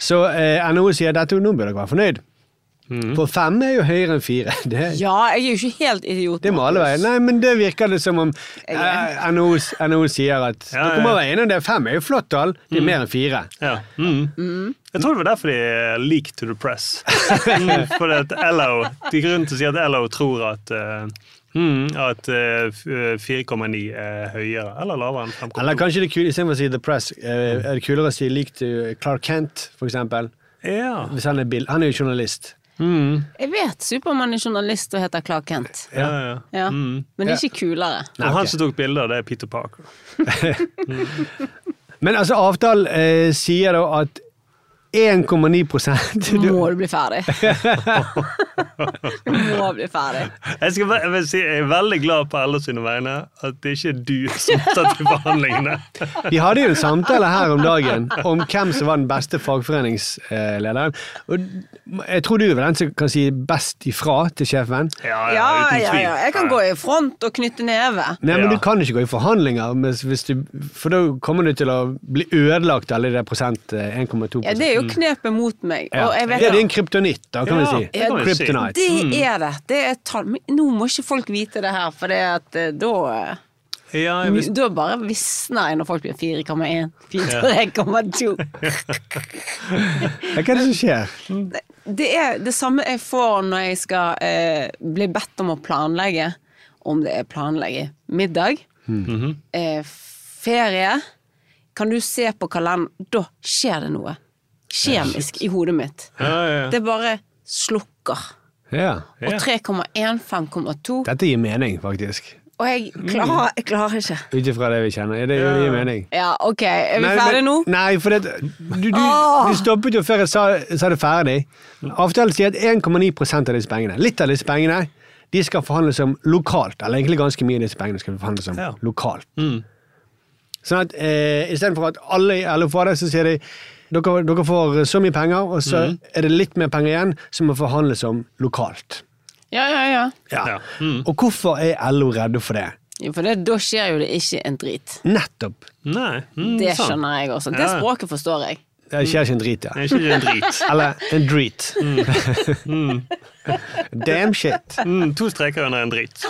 Speaker 2: Så eh, NHO sier dette, nå bør dere være fornøyd.
Speaker 4: Mm.
Speaker 2: For fem er jo høyere enn fire. Det,
Speaker 3: Ja, jeg er jo ikke helt idiot.
Speaker 2: det må alle være. Nei, men det virker det som om eh, NHO, s- NHO sier at
Speaker 4: Ja,
Speaker 2: dere må
Speaker 4: ja. Mm.
Speaker 2: være enige om det. Fem er jo flott tall. Det er mer enn fire.
Speaker 4: Ja. Mm.
Speaker 3: Mm.
Speaker 4: Jeg tror det var derfor de er leak to the press. Mm, Fordi at LO, De grunnen til å si at LO tror at eh, mm, at eh, f- eh, 4,9 er høyere eller lavere enn 5,2.
Speaker 2: Eller kanskje det er kul, istedenfor å si The Press, eh, er det kulere å si lik til Clark Kent, for eksempel.
Speaker 4: Ja.
Speaker 2: Hvis han er, bil, han er jo journalist.
Speaker 3: Jeg vet Supermann er journalist og heter Clark Kent.
Speaker 4: Ja, ja.
Speaker 3: Mm. Ja. Men det er ikke kulere.
Speaker 4: Og
Speaker 2: ok.
Speaker 4: han som tok bilder, det er Peter Parker.
Speaker 2: Men altså, avtalen eh, sier da at 1,9 prosent
Speaker 3: Nå må du bli ferdig. må bli ferdig.
Speaker 4: Jeg, skal, bare- jeg, vil si, jeg er veldig glad på LO sine vegne at det ikke er du som satt i forhandlingene.
Speaker 2: Vi hadde jo en samtale her om dagen om hvem som var den beste fagforeningslederen. Og jeg tror du er vel den som kan si best ifra til sjefen.
Speaker 4: Ja,
Speaker 3: Ja,
Speaker 4: ja, uten
Speaker 3: ja,
Speaker 4: tvil.
Speaker 3: ja. Jeg kan gå i front og knytte neve.
Speaker 2: Nei, men
Speaker 4: Ja.
Speaker 2: Du kan ikke gå i forhandlinger, hvis- hvis du, for da kommer du til å bli ødelagt alle de prosent eh, 1,2
Speaker 3: Ja, det er jo knepet mot meg. Og jeg vet
Speaker 2: Ja, det er en kryptonitt, da, kan
Speaker 4: Ja,
Speaker 2: vi si.
Speaker 4: det kan vi si.
Speaker 2: Kryptonite.
Speaker 3: det er det. det er tall. Men nå må ikke folk vite det her, for det at eh, da eh,
Speaker 4: Ja, jeg visste-
Speaker 3: Da bare visner jeg når folk blir 4,1, 4,2.
Speaker 2: Ja, Hva er det som skjer?
Speaker 3: Det er det samme jeg får når jeg skal eh, bli bedt om å planlegge. Om det er planlegge middag,
Speaker 4: Mhm.
Speaker 3: eh, ferie Kan du se på kalenderen? Da skjer det noe. Kjemisk i hodet mitt.
Speaker 4: ja, ja.
Speaker 3: Det bare slukker.
Speaker 2: Ja.
Speaker 3: Og 3,1, 5,2
Speaker 2: Dette gir mening, faktisk.
Speaker 3: Og jeg
Speaker 4: Mm.
Speaker 3: klarer, jeg klarer ikke.
Speaker 2: Ut ifra det vi kjenner. Ja, det gir gir mening.
Speaker 3: Ja, OK. Er vi
Speaker 2: Nei,
Speaker 3: ferdige
Speaker 2: men-
Speaker 3: nå?
Speaker 2: Nei, for det, du, du, du stoppet jo før jeg sa, sa det ferdig. Avtalen sier at 1,9 av disse pengene, litt av disse pengene, de skal forhandles om lokalt. Eller egentlig ganske mye av disse pengene skal forhandles om
Speaker 4: Ja. Mm.
Speaker 2: lokalt. Sånn at eh, istedenfor at alle i LO får det, så sier de dere, dere får så mye penger, og så
Speaker 4: Mm.
Speaker 2: er det litt mer penger igjen som må forhandles om lokalt.
Speaker 3: Ja, ja, ja.
Speaker 2: Ja.
Speaker 4: Ja. Mm.
Speaker 2: Og hvorfor er LO redde for det?
Speaker 3: Jo, for det, da skjer jo det ikke en drit.
Speaker 2: Nettopp.
Speaker 4: Nei. Mm,
Speaker 3: Det
Speaker 4: sant.
Speaker 3: skjønner jeg også. Det
Speaker 4: Ja.
Speaker 3: språket forstår jeg.
Speaker 2: Det skjer ikke en drit, ja.
Speaker 4: Det er ikke en drit.
Speaker 2: Eller en drit. Mm. Damn shit.
Speaker 4: Mm, to streker under en drit.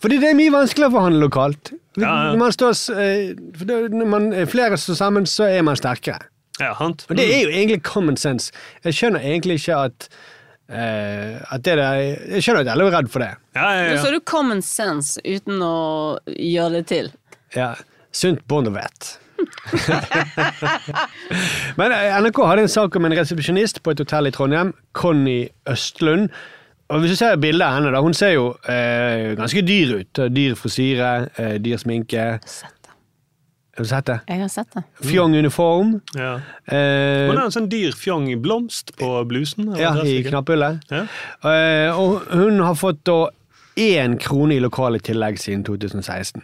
Speaker 2: Fordi det er mye vanskeligere å forhandle lokalt.
Speaker 4: Ja, ja.
Speaker 2: Når, man står, s- eh, for da- når man er flere står sammen, så er man sterkere.
Speaker 4: Ja, sant.
Speaker 2: Og det er jo egentlig common sense. Jeg skjønner egentlig ikke at, eh, at det der, Jeg skjønner at alle er redd for det.
Speaker 4: Mm. Ja, ja,
Speaker 3: Nå
Speaker 4: ja.
Speaker 3: sa du common sense uten å gjøre det til.
Speaker 2: Ja. Sunt bondevett. Men eh, NRK hadde en sak om en resepsjonist på et hotell i Trondheim, Conny Østlund. Og Hvis du ser bildet av henne, da, hun ser jo eh, ganske dyr ut. Dyr frisyre, eh, dyr sminke. Har du sett det?
Speaker 3: Jeg har sett det.
Speaker 2: Fjong uniform.
Speaker 4: ja.
Speaker 2: Eh,
Speaker 4: Hun har en sånn dyr fjong blomst på blusen. eller
Speaker 2: ja,
Speaker 4: dressen,
Speaker 2: I
Speaker 4: ikke?
Speaker 2: knapphullet.
Speaker 4: Ja.
Speaker 2: Eh, og hun har fått da én krone i lokalet tillegg siden 2016.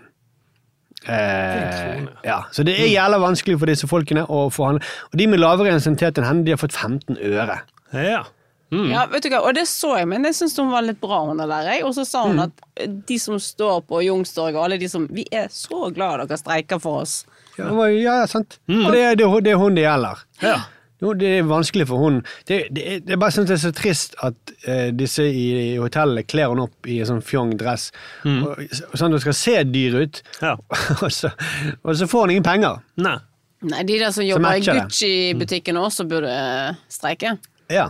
Speaker 2: Eh, ja, så det er jævla vanskelig for disse folkene å forhandle. Og de med lavere intensitet enn henne, de har fått 15 øre.
Speaker 4: Ja.
Speaker 2: Mm.
Speaker 3: Ja, vet du hva, og det så jeg, men jeg syns hun var litt bra, hun der. jeg. Og så sa
Speaker 2: Mm.
Speaker 3: hun at eh, de som står på Youngstorget, og alle de som Vi er så glad dere streiker for oss.
Speaker 2: Ja, det var- ja, ja sant. Og det er, det, er- det er hun det gjelder. Jo, det er vanskelig for hun. Det, det, er- det er bare sånn at det er så trist at eh, disse i, i hotellet kler hun opp i en sånn fjong dress, og, og sånn at hun skal se dyr ut,
Speaker 4: Ja.
Speaker 2: og, så, og så får hun ingen penger.
Speaker 4: Nei.
Speaker 3: Nei, de der som jobber i
Speaker 2: matcher det. Mm.
Speaker 3: Gucci-butikken også burde eh, streike.
Speaker 2: Ja.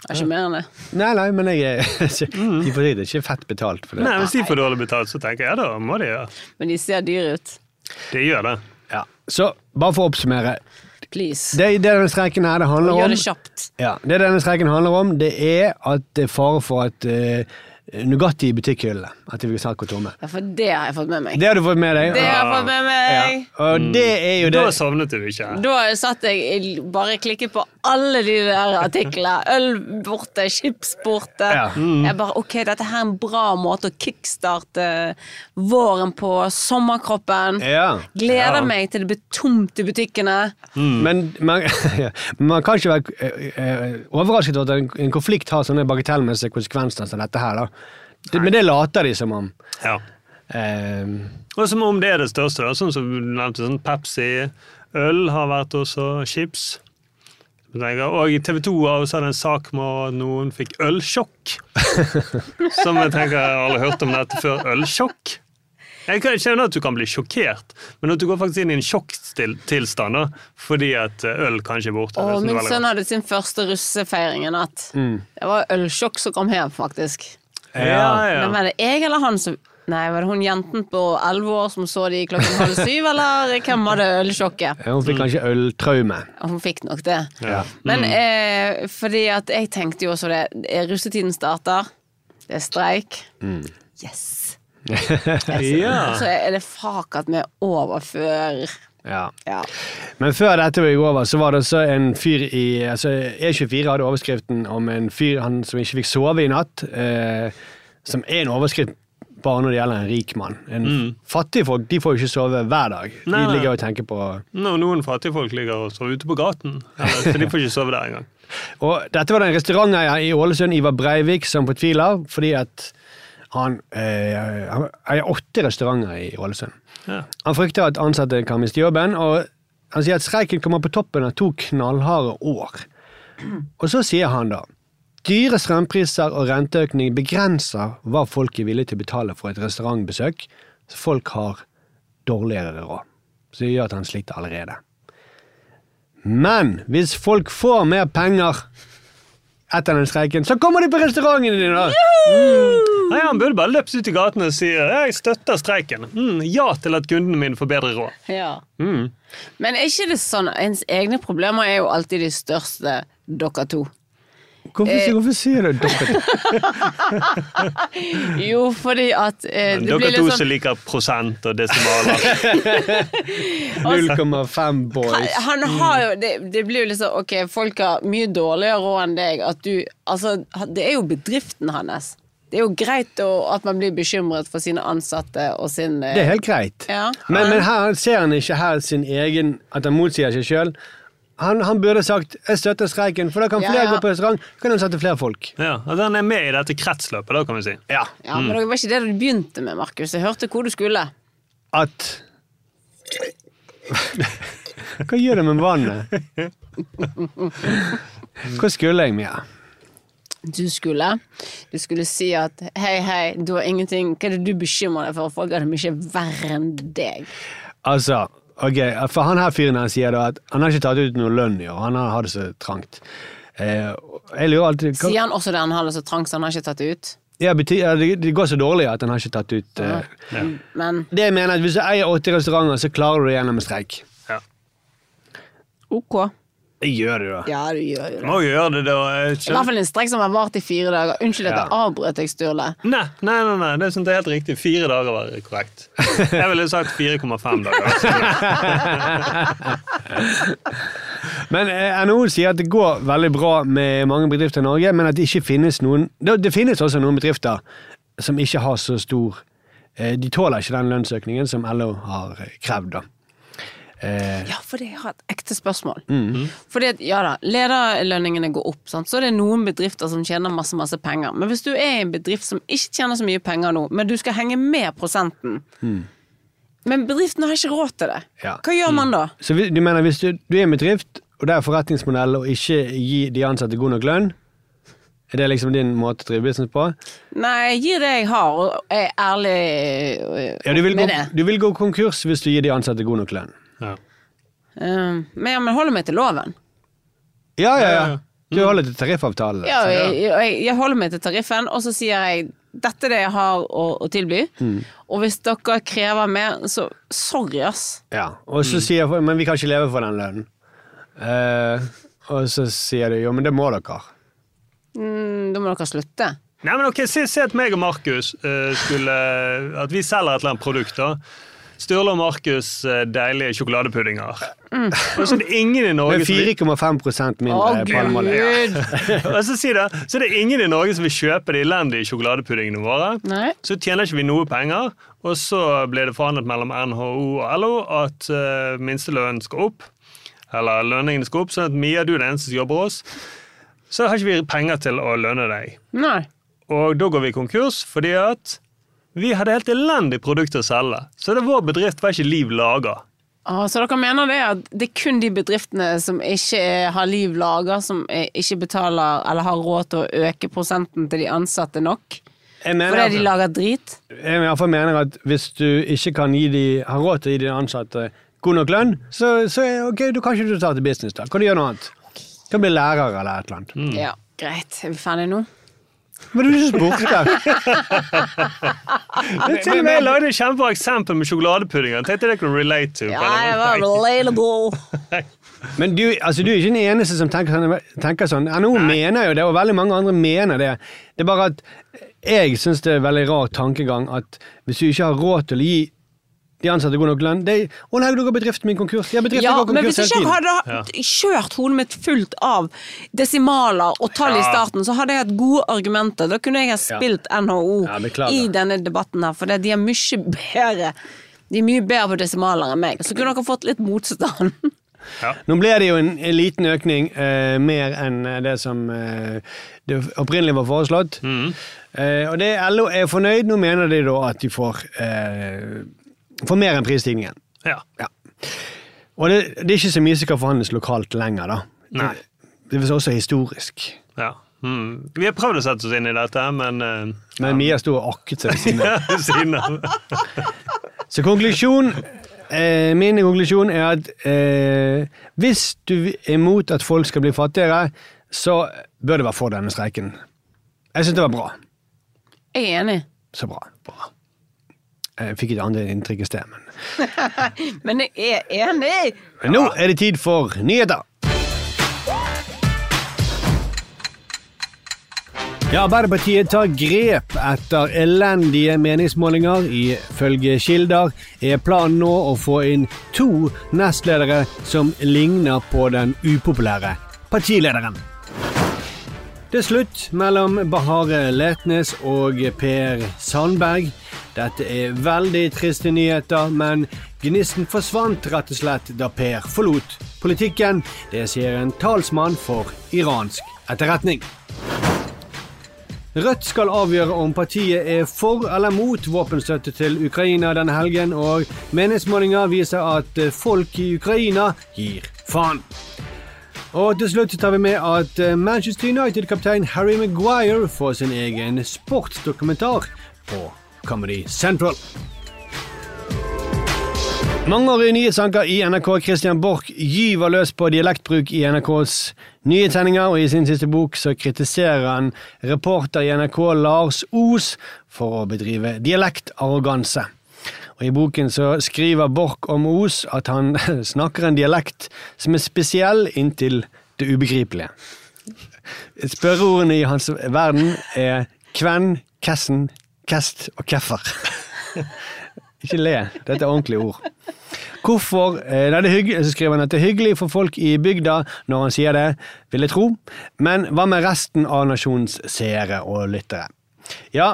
Speaker 3: Det er ikke mer enn det.
Speaker 2: Nei, nei, men jeg er ikke,
Speaker 3: Mm.
Speaker 2: de får si det er ikke fett betalt for det.
Speaker 4: Nei, hvis de får dårlig betalt, så tenker jeg ja, da må de gjøre det.
Speaker 3: Men de ser dyre ut.
Speaker 4: De gjør det.
Speaker 2: Ja. Så bare for å oppsummere.
Speaker 3: Please.
Speaker 2: Det, det denne streiken her det handler om
Speaker 3: Gjør det kjapt.
Speaker 2: ja, Det denne streiken handler om, det er at det er fare for at eh, Nugatti i butikkhyllene At de vil snart gå tomme.
Speaker 3: Ja, for det har jeg fått med meg.
Speaker 2: Det har du fått med deg?
Speaker 3: Det har jeg fått med meg.
Speaker 2: Ja. Og det er jo det
Speaker 4: Da sovnet du ikke.
Speaker 3: Da satt jeg i- bare klikket på alle de der artiklene. Øl borte, chips borte.
Speaker 2: Ja.
Speaker 4: Mm.
Speaker 3: Jeg bare OK, dette her er en bra måte å kickstarte våren på. Sommerkroppen.
Speaker 2: Ja.
Speaker 3: Gleder meg til det blir tomt i butikkene.
Speaker 2: Men man, ja. Men man kan ikke være eh, eh, overrasket over at en, en konflikt har sånne bagatellmessige konsekvenser som dette her. da. Det, men det later de som om.
Speaker 4: Ja.
Speaker 2: Eh,
Speaker 4: Og som om det er det største, da. sånn som du nevnte, sånn Pepsi, øl har vært også, chips. Jeg tenker, Og TV 2 har også hatt en sak med at noen fikk ølsjokk. som jeg tenker jeg alle har hørt om dette før. Ølsjokk. Jeg kan- jeg skjønner at du kan bli sjokkert, men at du går faktisk inn i en sjokktilstand da, fordi at eh, øl kanskje er borte.
Speaker 3: Og
Speaker 4: Det er
Speaker 3: min
Speaker 4: veldig
Speaker 3: sønn hadde sin første russefeiring i natt.
Speaker 4: Mm.
Speaker 3: Det var ølsjokk som kom hjem, faktisk.
Speaker 4: godt. Ja, ja.
Speaker 3: Men var det jeg eller han som Nei, var det hun jenten på elleve år som så de klokken halv syv, eller hvem hadde ølsjokket?
Speaker 2: hun fikk kanskje øltraume.
Speaker 3: Hun fikk nok det. Men
Speaker 4: Mm.
Speaker 3: eh, fordi at jeg tenkte jo også det, eh, russetiden starter, det er streik. Yes!
Speaker 4: Ja.
Speaker 3: Så er det fakat med over før.
Speaker 2: Ja.
Speaker 3: Ja.
Speaker 2: Men før dette gikk over, så var det også en fyr i altså E24 hadde overskriften om en fyr han, som ikke fikk sove i natt. Eh, som er en overskrift bare når det gjelder en rik mann. En Fattige folk de får jo ikke sove hver dag.
Speaker 4: Mm. Nei,
Speaker 2: de
Speaker 4: nei.
Speaker 2: ligger og tenker på
Speaker 4: Når noen fattige folk ligger og sover ute på gaten, eller, så de får ikke sove der engang.
Speaker 2: Og dette var det en restauranteier i Ålesund, Ivar Breivik, som fortviler fordi at han eh, han eier åtte restauranter i Ålesund.
Speaker 4: Ja.
Speaker 2: Han frykter at ansatte kan miste jobben, og han sier at streiken kommer på toppen av to knallharde år. Og så sier han da Dyre strømpriser og renteøkning begrenser hva folk er villige til å betale for et restaurantbesøk, så folk har dårligere råd. Så det gjør at han sliter allerede. Men hvis folk får mer penger etter den streiken, så kommer de på restauranten din! da!
Speaker 4: Nei, Han burde bare løpt ut i gaten og si jeg støtter streiken. Mm, ja til at kundene mine får bedre råd.
Speaker 3: Ja.
Speaker 4: Mm.
Speaker 3: Men er ikke det sånn Ens egne problemer er jo alltid de største, dere to.
Speaker 2: Hvorfor,
Speaker 3: Eh,
Speaker 2: hvorfor sier du dobbelt?
Speaker 3: Jo, fordi at eh,
Speaker 4: Men
Speaker 3: det
Speaker 4: Dere
Speaker 3: blir
Speaker 4: to
Speaker 3: litt
Speaker 4: som
Speaker 3: sånn
Speaker 4: liker prosent og desimaler.
Speaker 3: Altså-
Speaker 2: 0,5 boys. Mm.
Speaker 3: han har jo, det, det blir jo liksom Ok, folk har mye dårligere råd enn deg. At du, altså, det er jo bedriften hans. Det er jo greit å, at man blir bekymret for sine ansatte og sin eh,
Speaker 2: Det er helt greit.
Speaker 3: Ja.
Speaker 2: Men, men her ser han ikke her sin egen At han motsier seg sjøl. Han, han burde sagt 'jeg støtter streiken', for da kan
Speaker 3: Ja,
Speaker 2: flere
Speaker 3: ja.
Speaker 2: gå på restaurant. Så kan han sette flere folk.
Speaker 4: Ja, altså Han er med i dette kretsløpet, da, kan vi si.
Speaker 2: Ja.
Speaker 3: Ja, Men det var ikke det du begynte med, Markus. Jeg hørte hvor du skulle.
Speaker 2: At Hva gjør det med vannet? Hvor skulle jeg, Mia?
Speaker 3: Du skulle Du skulle si at hei, hei, du har ingenting Hva er det du bekymrer deg for? Folk har det mye verre enn deg.
Speaker 2: Altså, Ok, For han her fyren her sier da at han har ikke tatt ut noe lønn i år, han har har det så trangt. Eh, jeg lurer alltid hva-
Speaker 3: Sier han også det han har det så trangt, så han har ikke tatt det ut?
Speaker 2: ja, bety, ja, det, det går så dårlig at han har ikke tatt ut eh.
Speaker 3: Men
Speaker 2: Det jeg mener at Hvis du eier 80 restauranter, så klarer du det gjennom en streik.
Speaker 3: ok.
Speaker 2: Jeg gjør det, da.
Speaker 3: Ja, du gjør jo det.
Speaker 4: Må jo gjøre det, da. eh, Jeg
Speaker 3: I hvert
Speaker 4: skjønner.
Speaker 3: fall en streik som har vart i fire dager. Unnskyld at jeg avbrøt deg, Sturle.
Speaker 4: Nei, nei, nei, nei, det synes jeg er helt riktig. Fire dager var korrekt. Jeg ville sagt 4,5 dager.
Speaker 2: Men eh, NHO sier at det går veldig bra med mange bedrifter i Norge, men at det ikke finnes noen Det, det finnes også noen bedrifter som ikke har så stor eh, De tåler ikke den lønnsøkningen som LO har eh, krevd, da. Eh,
Speaker 3: Ja, for det har et ekte spørsmål.
Speaker 2: Mhm.
Speaker 3: Fordi at, ja da, Lederlønningene går opp, sant? så er det noen bedrifter som tjener masse masse penger. Men hvis du er i en bedrift som ikke tjener så mye penger nå, men du skal henge med prosenten Men bedriften har ikke råd til det.
Speaker 2: Mhm. Ja. Mhm.
Speaker 3: Hva gjør man da?
Speaker 2: Så vi- du mener hvis du, du er en bedrift, og det er forretningsmodell å ikke gi de ansatte god nok lønn, er det liksom din måte å drive business på?
Speaker 3: Nei, gi det jeg har, og er ærlig øh,
Speaker 2: Ja, du vil, gå,
Speaker 3: med det.
Speaker 2: du vil gå konkurs hvis du gir de ansatte god nok lønn.
Speaker 4: Ja.
Speaker 3: Um, men, ja, men holder meg til loven.
Speaker 2: Ja, ja,
Speaker 4: Ja,
Speaker 2: ja.
Speaker 4: ja.
Speaker 2: Du holder til tariffavtalen. altså.
Speaker 3: Ja, og jeg, og jeg, jeg holder meg til tariffen, og så sier jeg dette er det jeg har å, å tilby.
Speaker 2: Mhm.
Speaker 3: Og hvis dere krever mer, så sorry, ass.
Speaker 2: Ja, og
Speaker 4: Mm.
Speaker 2: så sier folk, men vi kan ikke leve for den lønnen. Eh, og så sier de, jo, men det må dere.
Speaker 3: Mm, da må dere slutte.
Speaker 4: Nei, men ok, Se, se at meg og Markus eh, skulle At vi selger et eller annet produkt. da Sturle og Markus eh, deilige sjokoladepuddinger. Og så er det ingen i
Speaker 2: Med
Speaker 4: Norge som vil-
Speaker 2: 4,5 mindre
Speaker 3: Å,
Speaker 2: palmeolje.
Speaker 3: Gud!
Speaker 4: Og så sier det, så er det ingen i Norge som vil kjøpe de elendige sjokoladepuddingene våre.
Speaker 3: Nei.
Speaker 4: Så tjener ikke vi noe penger, og så ble det forhandlet mellom NHO og LO at eh, minstelønnen skal opp, eller lønningene skal opp, sånn at Mia, du er den eneste som jobber hos oss, så har ikke vi penger til å lønne deg.
Speaker 3: Nei.
Speaker 4: Og da går vi konkurs, fordi at vi hadde helt elendig produkt å selge. Så det vår bedrift var ikke liv laga.
Speaker 3: Ah, så dere mener det at det er kun de bedriftene som ikke er- har liv laga, som eh, ikke betaler eller har råd til å øke prosenten til de ansatte nok?
Speaker 2: Jeg mener,
Speaker 3: Fordi de
Speaker 2: at-
Speaker 3: lager drit?
Speaker 2: jeg i hvert fall mener at hvis du ikke kan gi de, har råd til å gi de ansatte god nok lønn, så, så er ok, du kan ikke du ta til business da. Kan du gjøre noe annet? Kan bli lærer eller et eller annet.
Speaker 3: Ja, greit. Er vi ferdige nå?
Speaker 2: Men du er ikke borte.
Speaker 4: Til og med jeg lagde et kjempebra eksempel med sjokoladepuddinger. Tenkte det kunne relate to.
Speaker 3: Ja, jeg var relatable.
Speaker 2: Men du, altså, du er ikke den eneste som tenker sånn. Tenker sånn. NHO mener jo det, og veldig mange andre mener det. Det er bare at jeg syns det er veldig rar tankegang at hvis du ikke har råd til å gi de ansatte god nok lønn det, Å nei, du går bedriften min konkurs. Ja, bedriften
Speaker 3: Ja,
Speaker 2: går
Speaker 3: men hvis
Speaker 2: konkurs hele
Speaker 3: ikke jeg
Speaker 2: tiden.
Speaker 3: hadde ha- kjørt hodet mitt fullt av desimaler og tall i starten, så hadde jeg hatt gode argumenter. Da kunne jeg ha spilt NHO
Speaker 2: Ja, beklager.
Speaker 3: i denne debatten her, for det- de er mye bedre De er mye bedre på desimaler enn meg. Så kunne dere fått litt motstand.
Speaker 2: Nå ble det jo en, en liten økning, eh, mer enn eh, det som eh, det opprinnelig var foreslått. Eh, og det LO er fornøyd. Nå mener de da at de får, eh, får mer enn prisstigningen.
Speaker 4: Ja.
Speaker 2: Og det, det er ikke så mye som kan forhandles lokalt lenger, da.
Speaker 4: Nei.
Speaker 2: Det er vel også historisk.
Speaker 4: Ja. Mm. Vi har prøvd å sette oss inn i dette, men eh,
Speaker 2: Men Mia sto og akket seg ved siden av.
Speaker 4: siden av
Speaker 2: Så konklusjon eh, Min konklusjon er at eh, hvis du er imot at folk skal bli fattigere, så bør det være for denne streiken. Jeg syns det var bra.
Speaker 3: Jeg er enig,
Speaker 2: Så bra. bra. Jeg fikk et annet inntrykk i sted, men
Speaker 3: men jeg er enig!
Speaker 2: Men nå er det tid for nyheter. Ja, Arbeiderpartiet tar grep etter elendige meningsmålinger. Ifølge kilder er planen nå å få inn to nestledere som ligner på den upopulære partilederen. Det er slutt mellom Bahare Letnes og Per Sandberg. Dette er veldig triste nyheter, men gnisten forsvant rett og slett da Per forlot politikken. Det sier en talsmann for iransk etterretning. Rødt skal avgjøre om partiet er for eller mot våpenstøtte til Ukraina denne helgen, og meningsmålinger viser at folk i Ukraina gir faen. Og til slutt tar vi med at eh, Manchester United-kaptein Harry Maguire får sin egen sportsdokumentar på Comedy Central. Mangeårig nyhetsanker i NRK Christian Borch gyver løs på dialektbruk i NRKs nyhetssendinger, og i sin siste bok så kritiserer han reporter i NRK Lars Os for å bedrive dialektarroganse. Og I boken så skriver Borch om Os at han snakker en dialekt som er spesiell inntil det ubegripelige. Spørreordene i hans verden er kven, kessen, kest og keffer. Ikke le. Dette er ordentlige ord. Hvorfor, eh, nei, det er hygg- så skriver han at det er hyggelig for folk i bygda når han sier det, vil jeg tro. Men hva med resten av nasjonens seere og lyttere? Ja,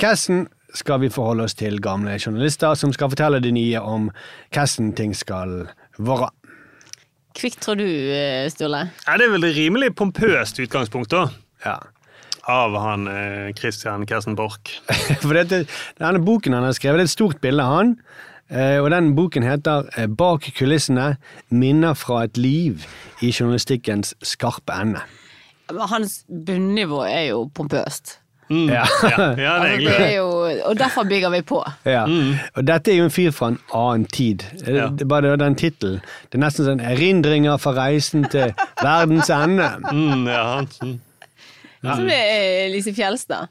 Speaker 2: Cassen skal vi forholde oss til gamle journalister som skal fortelle det nye om hvordan ting skal være.
Speaker 3: Kvikk, tror du, eh, Sturle?
Speaker 4: Ja, det er vel et rimelig pompøst utgangspunkt, da.
Speaker 2: Ja.
Speaker 4: Av han eh, Christian Kersen Borch.
Speaker 2: For dette, denne boken han har skrevet, det er et stort bilde av han. eh, Og den boken heter eh, Bak kulissene minner fra et liv i journalistikkens skarpe ende.
Speaker 3: Men Hans bunnivå er jo
Speaker 2: Ja.
Speaker 3: pompøst.
Speaker 4: Ja, ja, det er
Speaker 3: Altså,
Speaker 4: egentlig
Speaker 3: det er
Speaker 4: det.
Speaker 3: jo, og derfor bygger vi på.
Speaker 2: Ja. Og dette er jo en fyr fra en annen tid. Eh,
Speaker 4: Mm. Ja.
Speaker 2: Det er bare den tittelen. Det er nesten sånn 'Erindringer fra reisen til verdens ende'.
Speaker 4: Mm, ja, Hansen.
Speaker 3: Som det er Lise Fjelstad.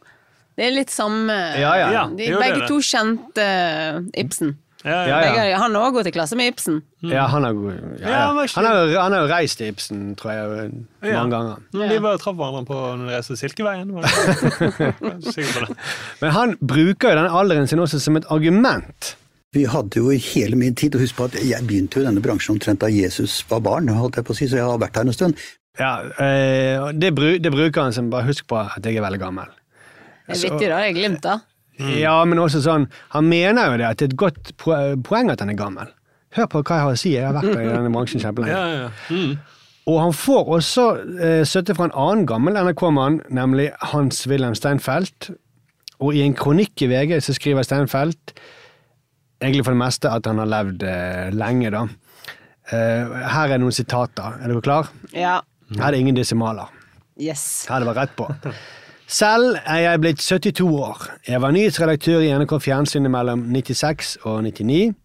Speaker 3: Det er litt samme
Speaker 2: Ja, ja.
Speaker 4: Ja,
Speaker 3: De,
Speaker 4: jo, det er
Speaker 3: Begge
Speaker 4: det.
Speaker 3: to kjente eh, Ibsen.
Speaker 4: Ja,
Speaker 2: Ja,
Speaker 4: ja.
Speaker 2: ja.
Speaker 3: Begge, han har også gått i klasse med Ibsen.
Speaker 2: Ja, han har god ja,
Speaker 4: Mm. Ja,
Speaker 2: ja.
Speaker 4: han var
Speaker 2: Han har jo- han har jo reist til Ibsen, tror jeg,
Speaker 4: Ja.
Speaker 2: mange ganger.
Speaker 4: Mm, De bare traff hverandre på når de reiste Silkeveien. var det? Jeg er Sikker på det.
Speaker 2: Men han bruker jo den alderen sin også som et argument.
Speaker 10: Vi hadde jo i hele min tid, og husk på at jeg begynte jo i denne bransjen omtrent da Jesus var barn, holdt jeg på å si, så jeg har vært her en stund.
Speaker 2: Ja, eh, og det, bru, det bruker han som bare husk på at jeg er veldig gammel.
Speaker 3: Det
Speaker 4: Altså,
Speaker 3: er vittig, da. Det er glimt, da.
Speaker 4: Mm.
Speaker 2: Ja, men også sånn Han mener jo det, at det er et godt po- poeng at han er gammel. Hør på hva jeg har å si, jeg har vært i denne bransjen kjempelenge.
Speaker 4: Ja, ja, ja. Mm.
Speaker 2: Og han får også eh, støtte fra en annen gammel NRK-mann, nemlig Hans-Wilhelm Steinfeld. Og i en kronikk i VG så skriver Steinfeld egentlig for det meste at han har levd eh, lenge, da. Eh, her er noen sitater. Er dere klar?
Speaker 3: Ja.
Speaker 2: Her er det ingen desimaler.
Speaker 3: Yes.
Speaker 2: Ja, det var rett på. Selv er jeg blitt 72 år. Jeg var nyhetsredaktør i NRK Fjernsynet mellom 96 og 99.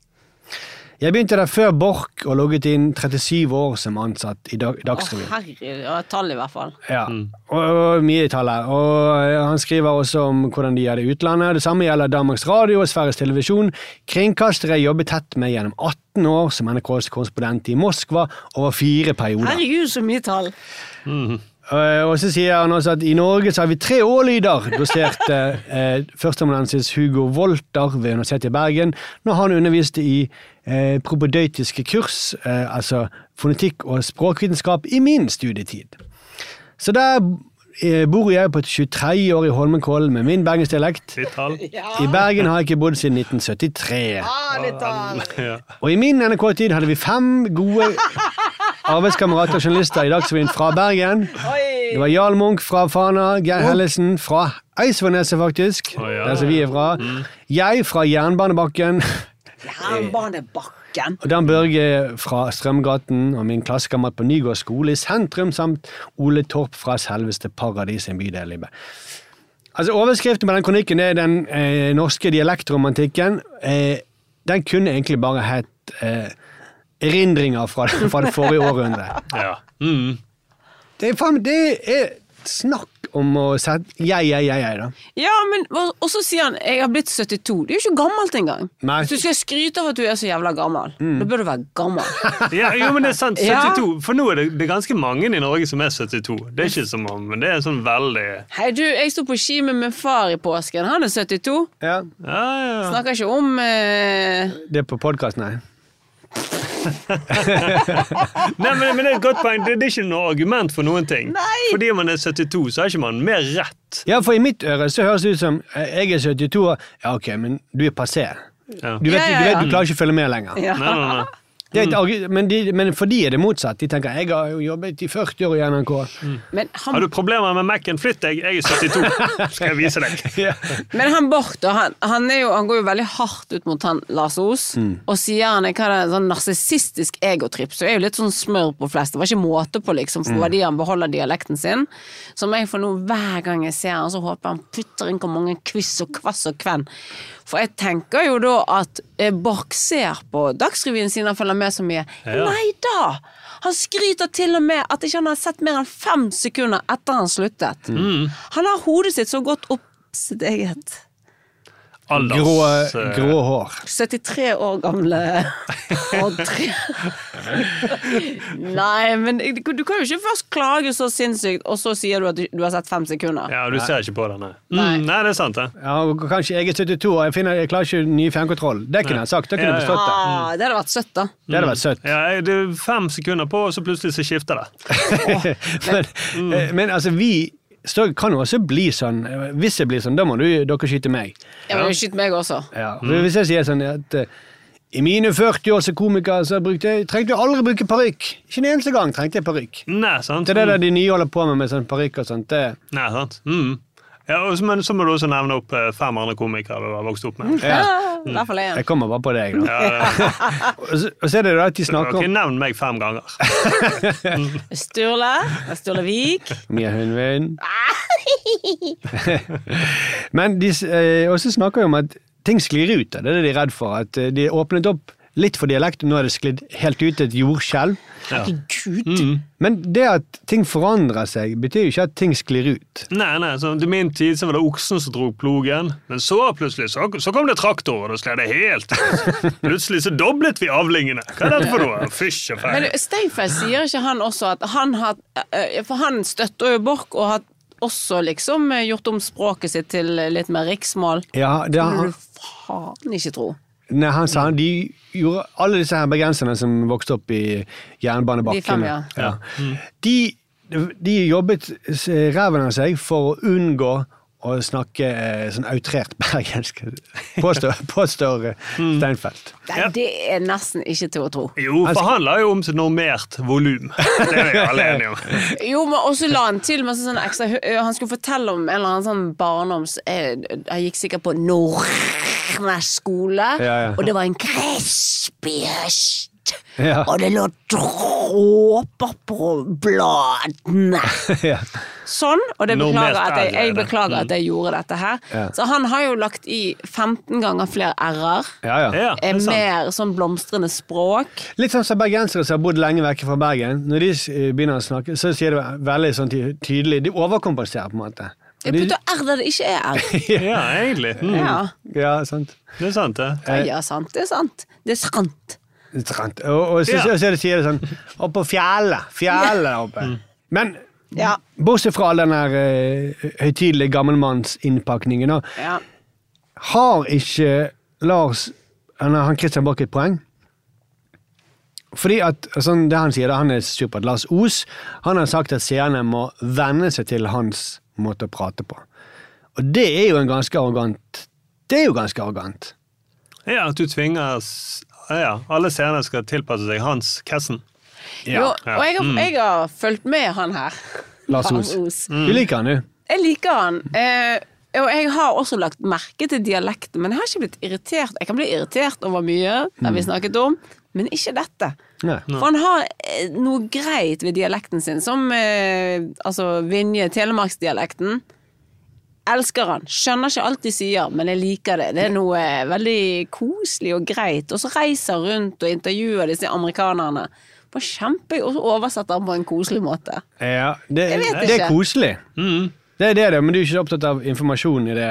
Speaker 2: Jeg begynte der før Borch og logget inn 37 år som ansatt i Dag
Speaker 3: Å,
Speaker 2: Dagsrevyen.
Speaker 3: herregud. Ja, Tall, i hvert fall.
Speaker 2: Ja, og, og mye tall her. Og eh, han skriver også om hvordan de gjør det i utlandet. Det samme gjelder Danmarks Radio og Sveriges Televisjon. Kringkastere jeg jobbet tett med gjennom 18 år som NRKs korrespondent i Moskva over fire perioder.
Speaker 3: Herregud, så mye tall!
Speaker 2: Eh, Og så sier han også at i Norge så har vi tre å-lyder, doserte eh, førsteamanuensis Hugo Wolter ved Universitetet i Bergen når han underviste i eh, propedeutiske kurs, eh, altså fonetikk og språkvitenskap, i min studietid. Så der eh, bor jeg på et 23 år i Holmenkollen med min bergensdialekt.
Speaker 4: Litt tall.
Speaker 2: I Bergen har jeg ikke bodd siden 1973.
Speaker 4: Ja.
Speaker 2: Og i min NRK-tid hadde vi fem gode arbeidskamerater og journalister i Dagsrevyen fra Bergen. Det var Jarl Munch fra Fana, Geir Hellesen fra Eidsvollneset, faktisk.
Speaker 4: Å, ja. Mm.
Speaker 2: Der som vi er fra. Jeg fra Jernbanebakken.
Speaker 3: Jernbanebakken!
Speaker 2: Og Dan Børge fra Strømgaten og min klassekamerat på Nygård skole i sentrum, samt Ole Torp fra selveste Paradis, en bydel i Bergen. Altså, Overskriften på den kronikken er den eh, norske dialektromantikken. Eh, den kunne egentlig bare hett eh, erindringer fra, fra det forrige århundret.
Speaker 4: Ja. Mm.
Speaker 2: Det er, faen, det er snakk om å sette Jeg, jeg, jeg, jeg, da.
Speaker 3: Ja, men og og så sier han 'jeg har blitt 72'. Det er jo ikke gammelt engang.
Speaker 2: Nei.
Speaker 3: Hvis du skal skryte av at du er så jævla gammel,
Speaker 4: Mm.
Speaker 3: da bør du være gammel.
Speaker 4: ja, jo, men det er sant.
Speaker 3: Ja.
Speaker 4: 72. For nå er det, det er ganske mange i Norge som er 72. Det er ikke som om, men det er sånn veldig
Speaker 3: Hei, du, jeg sto på ski med min far i påsken. Han er 72.
Speaker 2: Ja.
Speaker 4: Ja, ja.
Speaker 3: Snakker ikke om eh,
Speaker 2: Det er på podkasten, nei.
Speaker 4: Nei, men, men det er et godt poeng. Det, det er ikke noe argument for noen ting.
Speaker 3: Nei.
Speaker 4: Fordi man er 72, så har ikke man mer rett.
Speaker 2: Ja, for i mitt øre så høres det ut som eh, jeg er 72 år. Ja, ok, men du er passé.
Speaker 4: Ja.
Speaker 2: Du vet,
Speaker 3: Ja, ja,
Speaker 2: Du,
Speaker 3: ja.
Speaker 2: vet du klarer ikke å følge med lenger.
Speaker 3: ja.
Speaker 4: Nei, nei, nei.
Speaker 2: Det er et argu- men, de, men for de er det motsatt. De tenker jeg har jo jobbet i 40 år i NRK.
Speaker 4: Mm.
Speaker 3: Men
Speaker 4: Har
Speaker 3: han,
Speaker 4: du problemer med Mac-en, flytt deg. Jeg er 72. Skal jeg vise deg.
Speaker 3: men han Bård, da, han, han, er jo, han går jo veldig hardt ut mot han Lars Os,
Speaker 4: Mm.
Speaker 3: og sier han er hva det er, sånn narsissistisk egotripp. Så det er jo litt sånn smør på flest. Det var ikke måte på, liksom, for
Speaker 4: Mm.
Speaker 3: fordi han beholder dialekten sin. Som jeg får nå hver gang jeg ser han, så håper jeg han putter inn hvor mange quiz og kvass og kven. For jeg tenker jo da at eh, Borch ser på Dagsrevyen siden han følger med så mye.
Speaker 4: Ja.
Speaker 3: Nei da! Han skryter til og med at ikke han har sett mer enn fem sekunder etter han sluttet.
Speaker 4: Mm.
Speaker 3: Han har hodet sitt så godt opp sitt eget
Speaker 4: Alders,
Speaker 2: Grå,
Speaker 4: eh,
Speaker 2: grå hår.
Speaker 3: 73 år gamle Odd Tre. Nei, men du du kan jo ikke først klage så sinnssykt, og så sier du at du, du har sett fem sekunder.
Speaker 4: Ja, du ser ikke på den, nei. Mm, nei, det er sant, det.
Speaker 2: Ja, og kanskje jeg er 72 og jeg, finner, jeg klarer ikke ny fjernkontroll. Det kunne jeg sagt. Det kunne
Speaker 4: Ja,
Speaker 2: jeg bestått det.
Speaker 3: Ah,
Speaker 4: ja.
Speaker 3: det hadde vært søtt, da.
Speaker 2: Det hadde vært søtt.
Speaker 4: Ja, det er fem sekunder på, og så plutselig så skifter det.
Speaker 2: Men,
Speaker 4: Mm.
Speaker 2: eh, men altså, vi Større kan jo også bli sånn. eh, Hvis jeg blir sånn, da må du, dere skyte meg.
Speaker 3: Ja, men Skyt meg også.
Speaker 2: Ja.
Speaker 4: Mm.
Speaker 2: for Hvis jeg sier sånn at eh, i mine 40 år som komiker så brukte jeg, trengte jeg aldri bruke parykk. Ikke en eneste gang trengte jeg parykk.
Speaker 4: Nei, sant?
Speaker 2: Det er det der de nye holder på med med sånn parykk og sånt. Det,
Speaker 4: Nei, sant? Mm. Ja, og så, men så må du også nevne opp eh, fem andre komikere du har vokst opp med.
Speaker 2: ja.
Speaker 3: Ah, I hvert fall én.
Speaker 2: Jeg kommer bare på deg, da.
Speaker 4: Ja, ja.
Speaker 2: Og så, og så er det da at de
Speaker 4: Du har
Speaker 2: snakker
Speaker 4: ikke
Speaker 2: om
Speaker 4: nevnt meg fem ganger.
Speaker 3: Sturle. Sturle Vik.
Speaker 2: Mia Hundvin. Men de s- eh, også snakker jo om at ting sklir ut. da. Det er det de er redd for. At eh, de åpnet opp litt for dialekt, nå er det sklidd helt ut til et jordskjelv.
Speaker 3: Herregud.
Speaker 2: Men det at ting forandrer seg, betyr jo ikke at ting sklir ut.
Speaker 4: Nei, nei, så I min tid så var det oksen som dro plogen, men så plutselig så, så kom det traktor, og da slet det helt. Plutselig så doblet vi avlingene. Hva er dette for noe? Fysj og
Speaker 3: Men
Speaker 4: feil.
Speaker 3: Steinfeld sier ikke han også at han har eh, For han støtter jo Borch, og har også liksom eh, gjort om språket sitt til litt mer riksmål.
Speaker 2: Ja, det,
Speaker 3: Skulle
Speaker 2: han,
Speaker 3: du faen ikke tro.
Speaker 2: nei, han sa han, de gjorde alle disse her bergenserne som vokste opp i jernbanebakken.
Speaker 3: De fem, ja.
Speaker 2: Ja. Mm. De, de jobbet s- ræven av seg for å unngå å snakke eh, sånn outrert bergensk, påstår, påstår eh, Steinfeld.
Speaker 3: Nei, det er nesten ikke til å tro.
Speaker 4: Jo, for han la jo om til normert volum. Det er vi alle enige om.
Speaker 3: Jo, men også la han til med sånn ekstra hø- Han skulle fortelle om en eller annen sånn barndoms... eh, Han gikk sikkert på Nordnes skole,
Speaker 2: Ja, ja.
Speaker 3: og det var en crispy høst.
Speaker 2: Ja.
Speaker 3: Og det lå dråper på bladene.
Speaker 2: Ja.
Speaker 3: Sånn, og det
Speaker 4: Noe mer
Speaker 3: beklager at jeg,
Speaker 4: ærlig er
Speaker 3: jeg
Speaker 4: det.
Speaker 3: beklager at jeg gjorde dette her.
Speaker 2: Mm. Ja.
Speaker 3: Så han har jo lagt i 15 ganger flere r-er.
Speaker 2: Ja, ja.
Speaker 4: Ja, det
Speaker 3: eh,
Speaker 4: er sant.
Speaker 3: Mer sånn blomstrende språk.
Speaker 2: Litt sånn som bergensere som har bodd lenge vekk fra Bergen. Når de eh, begynner å snakke, så sier de veldig sånn ty- tydelig De overkompenserer, på en måte. Og
Speaker 3: Jeg
Speaker 2: de-
Speaker 3: putter r der det ikke er r.
Speaker 4: Ja, egentlig. Mm.
Speaker 3: Ja.
Speaker 2: Ja, sant.
Speaker 4: Det er sant, det.
Speaker 3: Ja, ja, sant. Det er sant. Det er sant.
Speaker 2: Trant. Og, og så,
Speaker 4: Ja.
Speaker 2: så, så de sier det sånn Oppå fjellet. Fjellet der oppe. Men
Speaker 3: Ja.
Speaker 2: bortsett fra all den der eh, høytidelige gammelmannsinnpakningen, da,
Speaker 3: Ja.
Speaker 2: har ikke Lars eller han Christian Borch et poeng? Fordi at, sånn det Han sier da, han er sur på at Lars Os han har sagt at seerne må venne seg til hans måte å prate på. Og det er jo en ganske arrogant Det er jo ganske arrogant.
Speaker 4: Ja, at du tvinger s- ja, Alle seerne skal tilpasse seg hans Kessen.
Speaker 3: Jo,
Speaker 4: ja.
Speaker 3: og jeg har, jeg har fulgt med han her.
Speaker 2: Lars
Speaker 3: Lars
Speaker 2: Os.
Speaker 3: Os.
Speaker 2: Du liker han, du.
Speaker 3: Jeg liker han. Eh, og jeg har også lagt merke til dialekten, men jeg har ikke blitt irritert. Jeg kan bli irritert over mye, det har vi snakket om, men ikke dette.
Speaker 2: Nei.
Speaker 3: For han har eh, noe greit ved dialekten sin, som eh, altså Vinje, telemarksdialekten. Elsker han. Skjønner ikke alt de sier, men jeg liker det. Det er noe eh, veldig koselig og greit. Og så reiser han rundt og intervjuer disse amerikanerne. På kjempe, og så oversetter han på en koselig måte.
Speaker 2: Ja, det,
Speaker 3: Jeg vet
Speaker 2: det er
Speaker 3: ikke.
Speaker 2: koselig. Det er det, det, men du er ikke så opptatt av informasjonen i det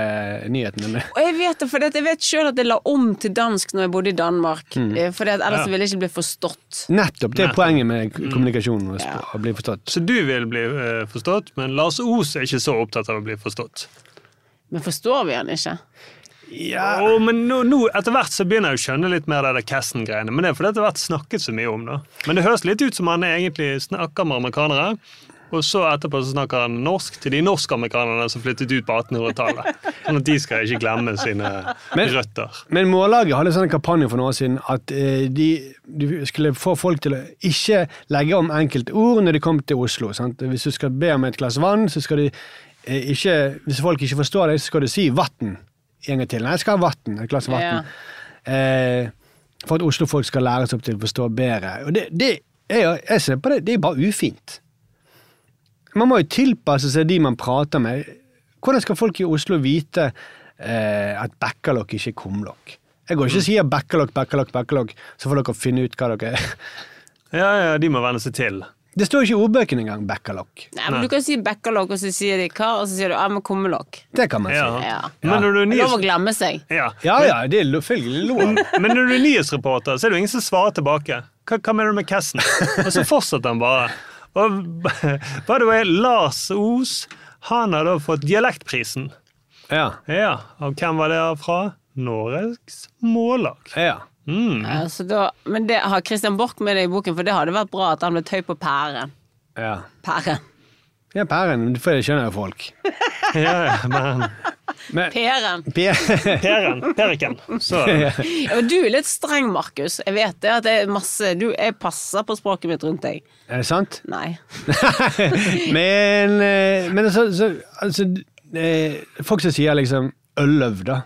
Speaker 2: nyheten.
Speaker 3: Og jeg vet det, for jeg vet selv at jeg la om til dansk når jeg bodde i Danmark. For ellers ville jeg ikke bli forstått.
Speaker 2: Nettopp. Det er
Speaker 4: Nettopp.
Speaker 2: poenget med kommunikasjonen. Å sp- å bli forstått.
Speaker 4: Så du vil bli eh, forstått, men Lars Os er ikke så opptatt av å bli forstått.
Speaker 3: Men forstår vi han ikke?
Speaker 4: Ja. men nå, nå, etter hvert så begynner jeg å skjønne litt mer av det Kessen-greiene. Men det er fordi det har vært snakket så mye om det. Men det høres litt ut som han egentlig snakker med amerikanere. Og så etterpå så snakker han norsk til de norskamerikanerne som flyttet ut på 1800-tallet. Sånn at de skal ikke glemme sine
Speaker 2: Men-
Speaker 4: røtter.
Speaker 2: Men Mållaget hadde en sånn kampanje for noen år siden at eh, de, de skulle få folk til å ikke legge om enkelte ord når de kom til Oslo. Sant? Hvis du skal be om et glass vann, så skal de eh, ikke Hvis folk ikke forstår deg, så skal du si 'vatn' en gang til. Nei, jeg skal ha vann. Et glass vann. Eh, for at Oslo-folk skal læres opp til å forstå bedre. Og det, det er, jo- jeg ser på det, det er bare ufint. Man må jo tilpasse seg de man prater med. Hvordan skal folk i Oslo vite eh, at Bekkalokk ikke er kumlokk. Jeg går ikke
Speaker 4: Mm.
Speaker 2: og sier Bekkalokk, Bekkalokk, Bekkalokk, så får dere finne ut hva dere er.
Speaker 4: Ja, ja, de må venne seg til.
Speaker 2: Det står ikke i ordbøkene engang, Bekkalokk.
Speaker 3: Nei, men Du kan si bekkalokk, og så sier de hva, og så sier du ja, men kummelokk.
Speaker 2: Det kan man si.
Speaker 4: Ja.
Speaker 3: Ja.
Speaker 4: Men når
Speaker 3: Det er
Speaker 4: du er
Speaker 3: Lov å
Speaker 4: nyhets...
Speaker 3: glemme seg.
Speaker 4: Ja.
Speaker 2: Ja, ja, det er selvfølgelig lov.
Speaker 4: Men når du er nyhetsreporter, så er det jo ingen som svarer tilbake. Hva, hva mener du med Kessen? Og så fortsetter han bare. Og by the way, Lars Os, han har da fått dialektprisen.
Speaker 2: Ja,
Speaker 4: Ja, og hvem var det fra? Norges Mållag.
Speaker 2: ja.
Speaker 3: Ja, så da, men det har Christian Borch med det i boken, for det hadde vært bra at han ble tøy på pæren.
Speaker 2: Ja,
Speaker 3: Pære.
Speaker 2: ja pæren, for det skjønner jo folk.
Speaker 4: Ja, ja, men
Speaker 2: Men,
Speaker 3: Pæren.
Speaker 2: P-
Speaker 4: Peren, Periken. Så
Speaker 3: Ja, men du er litt streng, Markus. Jeg vet det. at det er masse, du, Jeg passer på språket mitt rundt deg.
Speaker 2: er det sant?
Speaker 3: Nei.
Speaker 2: men, eh, men altså, så, altså eh, Folk som sier liksom Ølløv, da.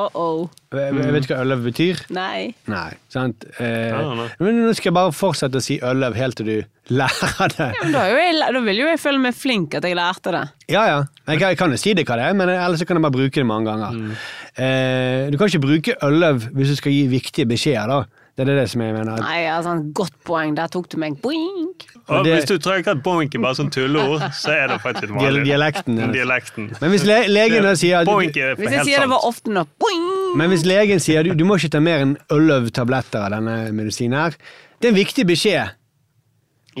Speaker 3: Oh-oh.
Speaker 2: Jeg jeg vet ikke hva Ølløv betyr.
Speaker 3: Nei.
Speaker 2: Nei, sant? Eh,
Speaker 4: Ja, nei.
Speaker 2: men nå skal jeg bare fortsette å si Ølløv helt til du lærer det.
Speaker 3: Men da, er jo jeg, da vil jo jeg føle meg flink at jeg lærte det.
Speaker 2: Ja, ja. Jeg kan- jeg kan jo si det hva det er, men ellers så kan jeg bare bruke det mange ganger.
Speaker 4: Mm.
Speaker 2: Eh, du kan ikke bruke Ølløv hvis du skal gi viktige beskjeder, da. Det er det som jeg mener.
Speaker 3: Nei, altså, Godt poeng. Der tok du meg. Boink!
Speaker 4: og
Speaker 2: det-
Speaker 4: hvis du trykker et boink i bare sånn tulleord, så er det faktisk
Speaker 2: Dial-
Speaker 4: vanlig.
Speaker 2: Dialekten. er det.
Speaker 4: Dialekten.
Speaker 2: Men hvis le legen da sier at-
Speaker 4: Boink er
Speaker 3: Hvis jeg
Speaker 4: helt
Speaker 3: sier det var
Speaker 4: sant.
Speaker 3: ofte nok boing!
Speaker 2: Men hvis legen sier du, du må ikke ta mer enn Ølløv tabletter av denne medisinen her, det er en viktig beskjed.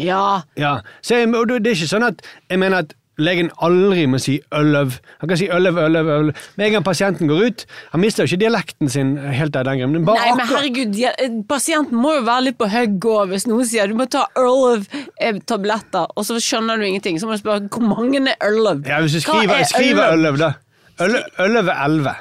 Speaker 3: Ja.
Speaker 2: Ja, så jeg, og det er ikke sånn at jeg mener at legen aldri må si ølløv. Han kan si ølløv, ølløv, ølløv. Med en gang pasienten går ut, han mister jo ikke dialekten sin helt av den grunn. men Bare
Speaker 3: Nei, men
Speaker 2: akkurat-
Speaker 3: herregud, dia- eh, pasienten må jo være litt på hugget også, hvis noen sier du må ta Erlov-tabletter, og så skjønner du ingenting. Så må du spørre hvor mange er Erlov?
Speaker 2: Ja, hvis du skriver, skriver ølløv, da. Ølløv, ølløv er elleve.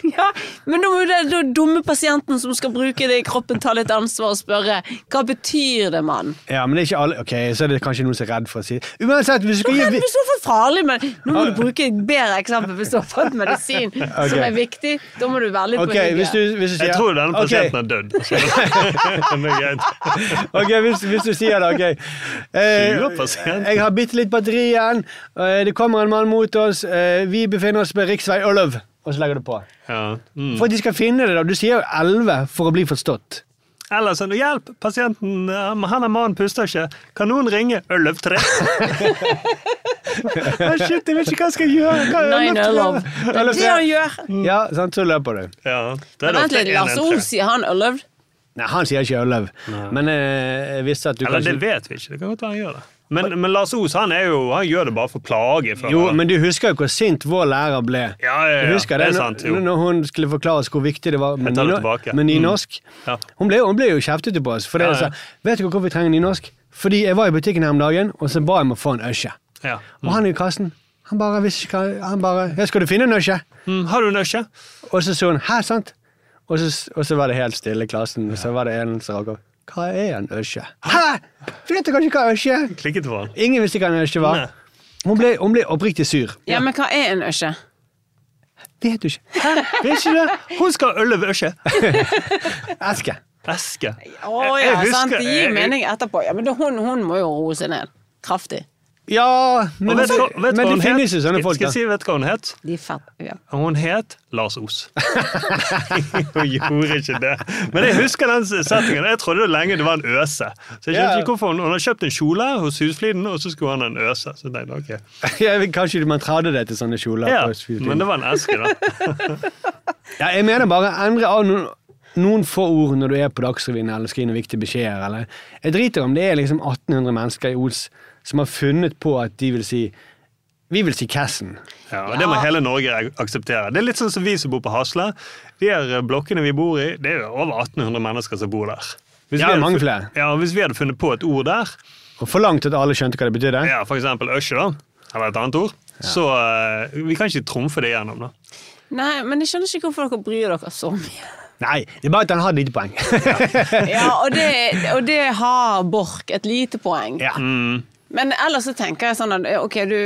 Speaker 3: Ja, men da må jo den den dumme pasienten som skal bruke det i kroppen, ta litt ansvar og spørre hva betyr det, mann?
Speaker 2: Ja, men det er ikke alle Ok, så er det kanskje noen som er redd for å si det. Uansett, hvis du skal gi
Speaker 3: Redd
Speaker 2: vi-
Speaker 3: for farlig, men nå må du bruke et bedre eksempel hvis du har fått medisin som er viktig. Da må du være litt
Speaker 2: Ok,
Speaker 3: på hugget.
Speaker 2: hvis du, hvis du sier
Speaker 4: Jeg tror denne
Speaker 2: Ok,
Speaker 4: pasienten har dødd. så- Men greit.
Speaker 2: Ok, hvis, hvis du sier det, ok. Eh,
Speaker 4: 20%.
Speaker 2: jeg har bitte litt batteri igjen. Eh, det kommer en mann mot oss. Eh, vi befinner oss på riksvei Ølløv. Og så legger du på.
Speaker 4: Ja. Mm.
Speaker 2: For at de skal finne det, da. Du sier jo 11 for å bli forstått.
Speaker 4: Eller sånn Hjelp! Pasienten, eh, han er mannen, puster ikke. Kan noen ringe Ølløv 3?
Speaker 2: Å, shit, jeg vet ikke hva jeg skal gjøre. Hva er
Speaker 3: Nei,
Speaker 2: Ølløv
Speaker 3: det er lov.
Speaker 2: tre?
Speaker 3: Det er
Speaker 2: Ølløv
Speaker 3: det han
Speaker 2: tre.
Speaker 3: gjør.
Speaker 2: Ja, sant, så løper du.
Speaker 4: Ja, det er
Speaker 3: Men
Speaker 4: det
Speaker 3: Vent
Speaker 4: ofte
Speaker 3: litt, Lars O,
Speaker 4: 113.
Speaker 3: sier han Erlov?
Speaker 2: Nei, han sier ikke Ølløv. Men eh, jeg visste at du
Speaker 4: Eller det
Speaker 2: kanskje
Speaker 4: vet vi ikke. Det kan godt være han gjør det. Men, men Lars Os han er jo, han gjør det bare for plage. føler
Speaker 2: Jo,
Speaker 4: jeg.
Speaker 2: men du husker jo hvor sint vår lærer ble.
Speaker 4: Ja, ja, ja.
Speaker 2: Du husker
Speaker 4: Det er
Speaker 2: når-
Speaker 4: sant, jo.
Speaker 2: Når hun skulle forklare oss hvor viktig det var med,
Speaker 4: Jeg tar det
Speaker 2: nyno-
Speaker 4: tilbake. Mm.
Speaker 2: med nynorsk.
Speaker 4: Ja.
Speaker 2: Hun, ble, hun ble jo kjeftete på oss. For det
Speaker 4: Ja,
Speaker 2: sa,
Speaker 4: ja.
Speaker 2: Vet du hvorfor vi trenger nynorsk? Fordi jeg var i butikken her om dagen, og så ba jeg om å få en øsje.
Speaker 4: ja.
Speaker 2: Og han i kassen, han bare visste ikke hva Han bare «Ja, 'Skal du finne en øsje?'
Speaker 4: mm, har du en øsje?
Speaker 2: Og så så hun 'Hæ, sant?' Og så, og så var det helt stille i klassen, og så var det en som rakk opp 'Hva er en øsje?' 'Hæ? Vet du kanskje hva øsje er?'
Speaker 4: Klikket på han.
Speaker 2: Ingen visste hva en øsje var.
Speaker 4: Nei.
Speaker 2: Hun ble, hun ble oppriktig sur.
Speaker 3: Ja, men hva er en øsje?
Speaker 2: Vet du ikke?
Speaker 4: Vet ikke det? Hun skal ha Ølløv øsje.
Speaker 2: Eske.
Speaker 4: Eske.
Speaker 3: Å
Speaker 4: Jeg-
Speaker 3: ja,
Speaker 4: jeg husker-
Speaker 3: sant. Det
Speaker 4: jeg-
Speaker 3: gir mening etterpå. Ja, men da, hun, hun må jo roe seg ned. Kraftig.
Speaker 2: Ja, men,
Speaker 4: Og vet, du hva- vet du
Speaker 2: men
Speaker 4: hva hun
Speaker 2: det finnes jo
Speaker 4: het?
Speaker 2: sånne
Speaker 4: Skal-
Speaker 2: folk.
Speaker 4: Skal
Speaker 2: Da.
Speaker 4: jeg si vet du hva hun het?
Speaker 3: De er fett. Ja.
Speaker 4: Hun het Lars Os. hun gjorde ikke det. Men jeg husker den settingen. Jeg trodde det lenge det var en øse. Så jeg skjønte
Speaker 2: Ja.
Speaker 4: ikke hvorfor Hun hun hadde kjøpt en kjole hos Husfliden, og så skulle han ha en øse. Så jeg tenkte, ok.
Speaker 2: Jeg vet, kanskje man tradde det til sånne kjoler.
Speaker 4: Ja,
Speaker 2: på Sfilfin.
Speaker 4: men det var en eske, da.
Speaker 2: ja, jeg mener bare endre av noen, noen få ord når du er på Dagsrevyen eller skal gi noen viktige beskjeder. Eller. Jeg driter om det er liksom 1800 mennesker i Os som har funnet på at de vil si Vi vil si Cassen.
Speaker 4: Ja, og Det må hele Norge akseptere. Det er litt sånn som vi som bor på Hasle. De her eh, blokkene vi bor i, det er jo over 1800 mennesker som bor der. Hvis
Speaker 2: Ja,
Speaker 4: vi hadde
Speaker 2: mange
Speaker 4: fun-
Speaker 2: flere.
Speaker 4: Ja, Hvis vi hadde funnet på et ord der,
Speaker 2: Og forlangt at alle skjønte hva det betydde.
Speaker 4: ja, for eksempel øsje, da, eller et annet ord, så eh, vi kan ikke trumfe det gjennom. da.
Speaker 3: Nei, men jeg skjønner ikke hvorfor dere bryr dere så mye.
Speaker 2: Nei, det er bare at han har et lite poeng.
Speaker 3: Ja, Og det, og det har Borch et lite poeng.
Speaker 2: ja.
Speaker 3: Mm. Men ellers så tenker jeg sånn at ok, du,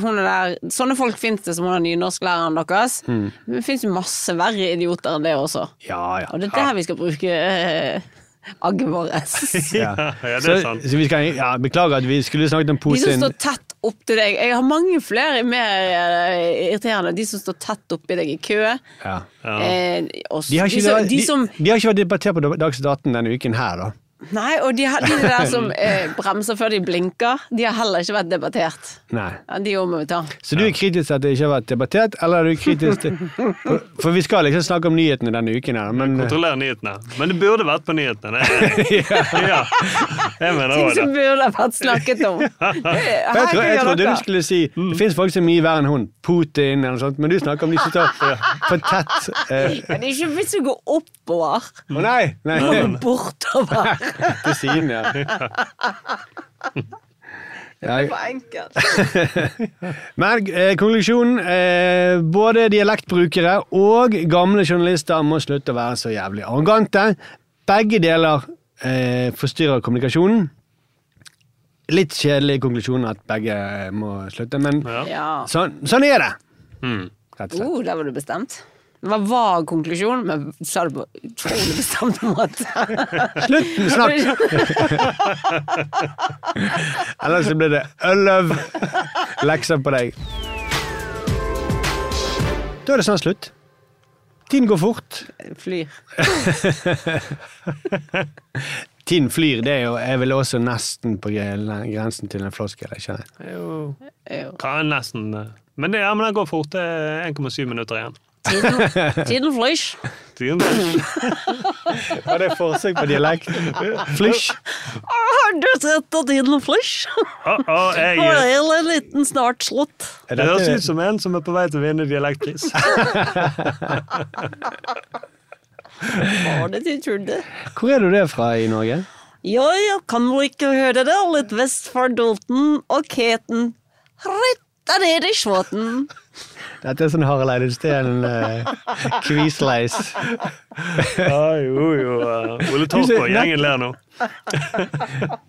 Speaker 3: hun er der, sånne folk finnes det som hun er nynorsklæreren deres.
Speaker 4: Mm.
Speaker 3: Men det finnes jo masse verre idioter enn det også.
Speaker 2: ja, ja.
Speaker 3: Og det er der vi skal bruke eh, agget vårt.
Speaker 4: Ja, ja, det
Speaker 2: Så,
Speaker 4: er sant.
Speaker 2: så vi skal, ja, beklager at vi skulle snakket om
Speaker 3: De som
Speaker 2: posen.
Speaker 3: står tett opp til deg. Jeg har mange flere mer eh, irriterende. De som står tett oppi deg i kø.
Speaker 2: Ja.
Speaker 3: Eh, også,
Speaker 2: De har ikke,
Speaker 3: de, som,
Speaker 2: vært-
Speaker 3: de som
Speaker 2: de, de har ikke vært debattert på Dagsnytt 18 denne uken her, da.
Speaker 3: Nei, og de, har- de der som eh, bremser før de blinker, de har heller ikke vært debattert.
Speaker 2: Nei.
Speaker 3: Ja, de òg må vi ta.
Speaker 2: Så du er kritisk til at det ikke har vært debattert, eller er du kritisk til For- For vi skal liksom snakke om nyhetene denne uken her, men
Speaker 4: Kontroller nyhetene. Men det burde vært på nyhetene. Det er jeg. ja. Jeg mener
Speaker 3: Ting
Speaker 4: også
Speaker 3: som
Speaker 4: det.
Speaker 3: burde ha vært snakket om. Eh,
Speaker 2: eh, jeg, tror, jeg trodde du skulle si det fins folk som er mye verre enn hun. Putin eller noe sånt, men du snakker om de som tar for tett eh,
Speaker 3: Men det er ikke vits å gå oppover.
Speaker 2: Å nei! nei.
Speaker 3: Gå bortover.
Speaker 2: Til siden, ja.
Speaker 3: Det
Speaker 2: ja.
Speaker 3: var enkelt.
Speaker 2: Men eh, konklusjonen eh, Både dialektbrukere og gamle journalister må slutte å være så jævlig arrogante. Begge deler eh, forstyrrer kommunikasjonen. Litt kjedelig konklusjon at begge eh, må slutte, men
Speaker 3: Ja.
Speaker 2: sånn, sånn er det. Rett og slett.
Speaker 3: Oh, der var du bestemt. Det var vag konklusjon, men sa det på utrolig bestemt måte.
Speaker 2: Slutt med snakk! Ellers så blir det øløv. Lekser på deg. Da er det snart slutt. Tiden går fort.
Speaker 3: Flyr.
Speaker 2: Tiden flyr, det er jo Jeg vil også nesten på gre- grensen til en floskel. jeg kjenner.
Speaker 4: Det er jo-
Speaker 3: Jo.
Speaker 4: Kan nesten eh, Men det, ja, men det går fort. Det er 1,7 minutter igjen.
Speaker 3: Tiden, tiden flyr.
Speaker 4: Tiden går.
Speaker 2: Var det forsøk på dialekt? Flysj.
Speaker 3: Har du sett at tiden flyr?
Speaker 4: Å, å, jeg,
Speaker 3: Nå er det en liten snart slutt.
Speaker 2: Er
Speaker 4: det høres ut
Speaker 2: dette,
Speaker 4: som en som er på vei til å vinne dialektpris.
Speaker 3: Var det du trodde?
Speaker 2: hvor er du det fra i Norge?
Speaker 3: Ja, jeg kan vel ikke høre det, litt vest for Dolten og Keten. Rett der nede i Svåten.
Speaker 2: Dette er sånn Harald Eide Steen, eh, Kvisleis.
Speaker 4: Ja, jo, jo. eh, Ole Torp og gjengen ler nå.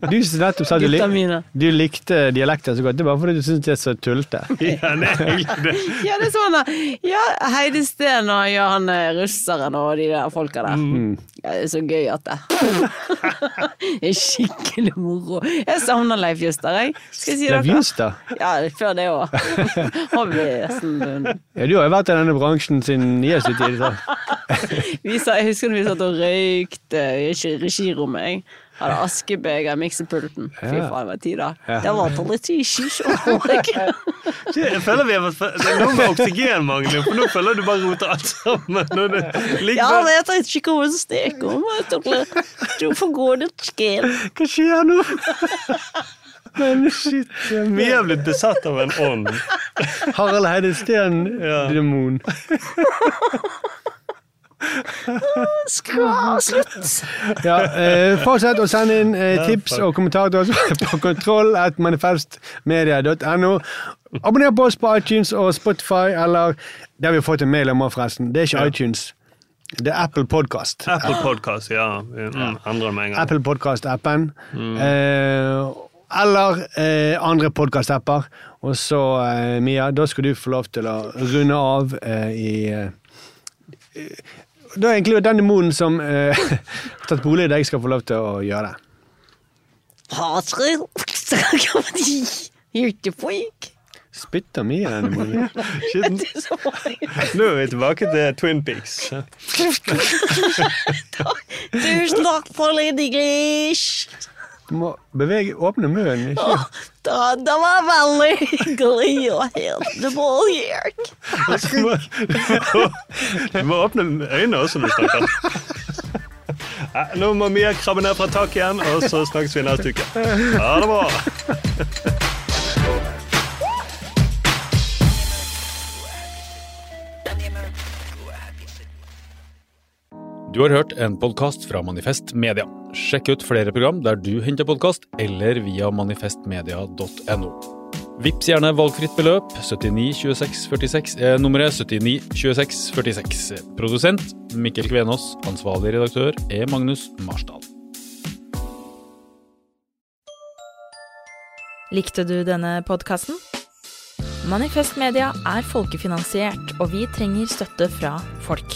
Speaker 2: Du som nettopp sa du, lik,
Speaker 3: Gutta mine.
Speaker 2: du likte dialekter så godt. Det er bare fordi du syns de er så tullete.
Speaker 4: Ja, det er egentlig det.
Speaker 3: Ja, det er sånn da. Ja, Heidi Steen og ja, han eh, russeren og de der folka der. Ja, det er så gøy at det Det er skikkelig moro. Jeg savner Leif Juster, jeg. Skal jeg si
Speaker 2: Leif
Speaker 3: dere?
Speaker 2: Juster?
Speaker 3: Ja, før det òg. Han ble nesten
Speaker 2: Ja, du har jo vært i denne bransjen siden Jesus tid. så.
Speaker 3: Vi sa, Jeg husker når vi satt og røykte i regi- regirommet. jeg. Hadde askebeger i miksepulten. Fy
Speaker 2: Ja.
Speaker 3: faen, det var tid, da. Det var politiskisjon.
Speaker 4: Jeg føler vi har vært for- Nå med oksygenmangel, for nå føler du bare roter alt sammen. Og det
Speaker 3: Ja,
Speaker 4: likevel
Speaker 3: men jeg tenkte ikke hva hun snakker om. Jeg tenkte, Du får gå litt skjell.
Speaker 2: Hva skjer nå? Men shit, jeg er
Speaker 4: Vi
Speaker 2: med.
Speaker 4: er blitt besatt av en ånd.
Speaker 2: Harald Heide Steen-demon.
Speaker 3: Skra, slutt!
Speaker 2: Ja, eh, fortsett å sende inn eh, tips og kommentarer til oss på kontroll.manifestmedia.no. Abonner på oss på iTunes og Spotify, eller der vi har fått en mail om, forresten. Det er ikke iTunes. Det er Apple Podcast.
Speaker 4: Apple Podcast, ja. Mm, Endrer det med en gang.
Speaker 2: Apple Podcast-appen. Eh, eller eh, andre podcast-apper. Og så, eh, Mia, da skal du få lov til å runde av eh, i eh, Da er egentlig den demonen som eh, har tatt bolig i deg, skal få lov til å gjøre det.
Speaker 3: Hater oksakavadi. Hyttefolk.
Speaker 2: Spytter Mia den demonen?
Speaker 4: Shit, Nå er vi tilbake til Twin Peaks.
Speaker 3: Tusen takk for Lady Grish.
Speaker 2: Du må bevege Åpne munnen. Ikke?
Speaker 3: Da, da var veldig hyggelig å hilse på dere.
Speaker 4: Du må, du må åpne øynene også når du snakker. Nei, Nå må Mia krabbe ned fra taket igjen, og så snakkes vi neste uke. Ha det bra!
Speaker 11: Du har hørt en podkast fra Manifest Media. Sjekk ut flere program der du henter podkast, eller via manifestmedia.no. Vips gjerne valgfritt beløp. 79 26 46 er nummeret 79 26 46. Produsent Mikkel Kvenås. Ansvarlig redaktør er Magnus Marsdal.
Speaker 12: Likte du denne podkasten? Manifest Media er folkefinansiert, og vi trenger støtte fra folk.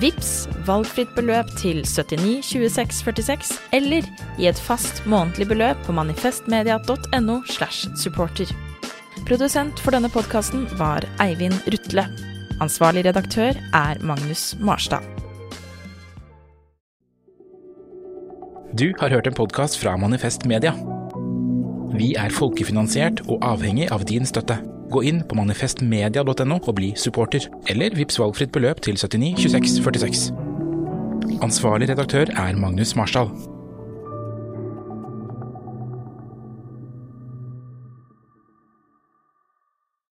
Speaker 3: Vips valgfritt beløp til 79 26 46, eller i et fast månedlig beløp på manifestmedia.no. slash supporter. Produsent for denne podkasten var Eivind Rutle. Ansvarlig redaktør er Magnus Marstad.
Speaker 1: Du har hørt en podkast fra Manifest Media. Vi er folkefinansiert og avhengig av din støtte. Gå inn på manifestmedia.no og bli supporter, eller vips valgfritt beløp til 79 26 46. Ansvarlig redaktør er Magnus Marsdal.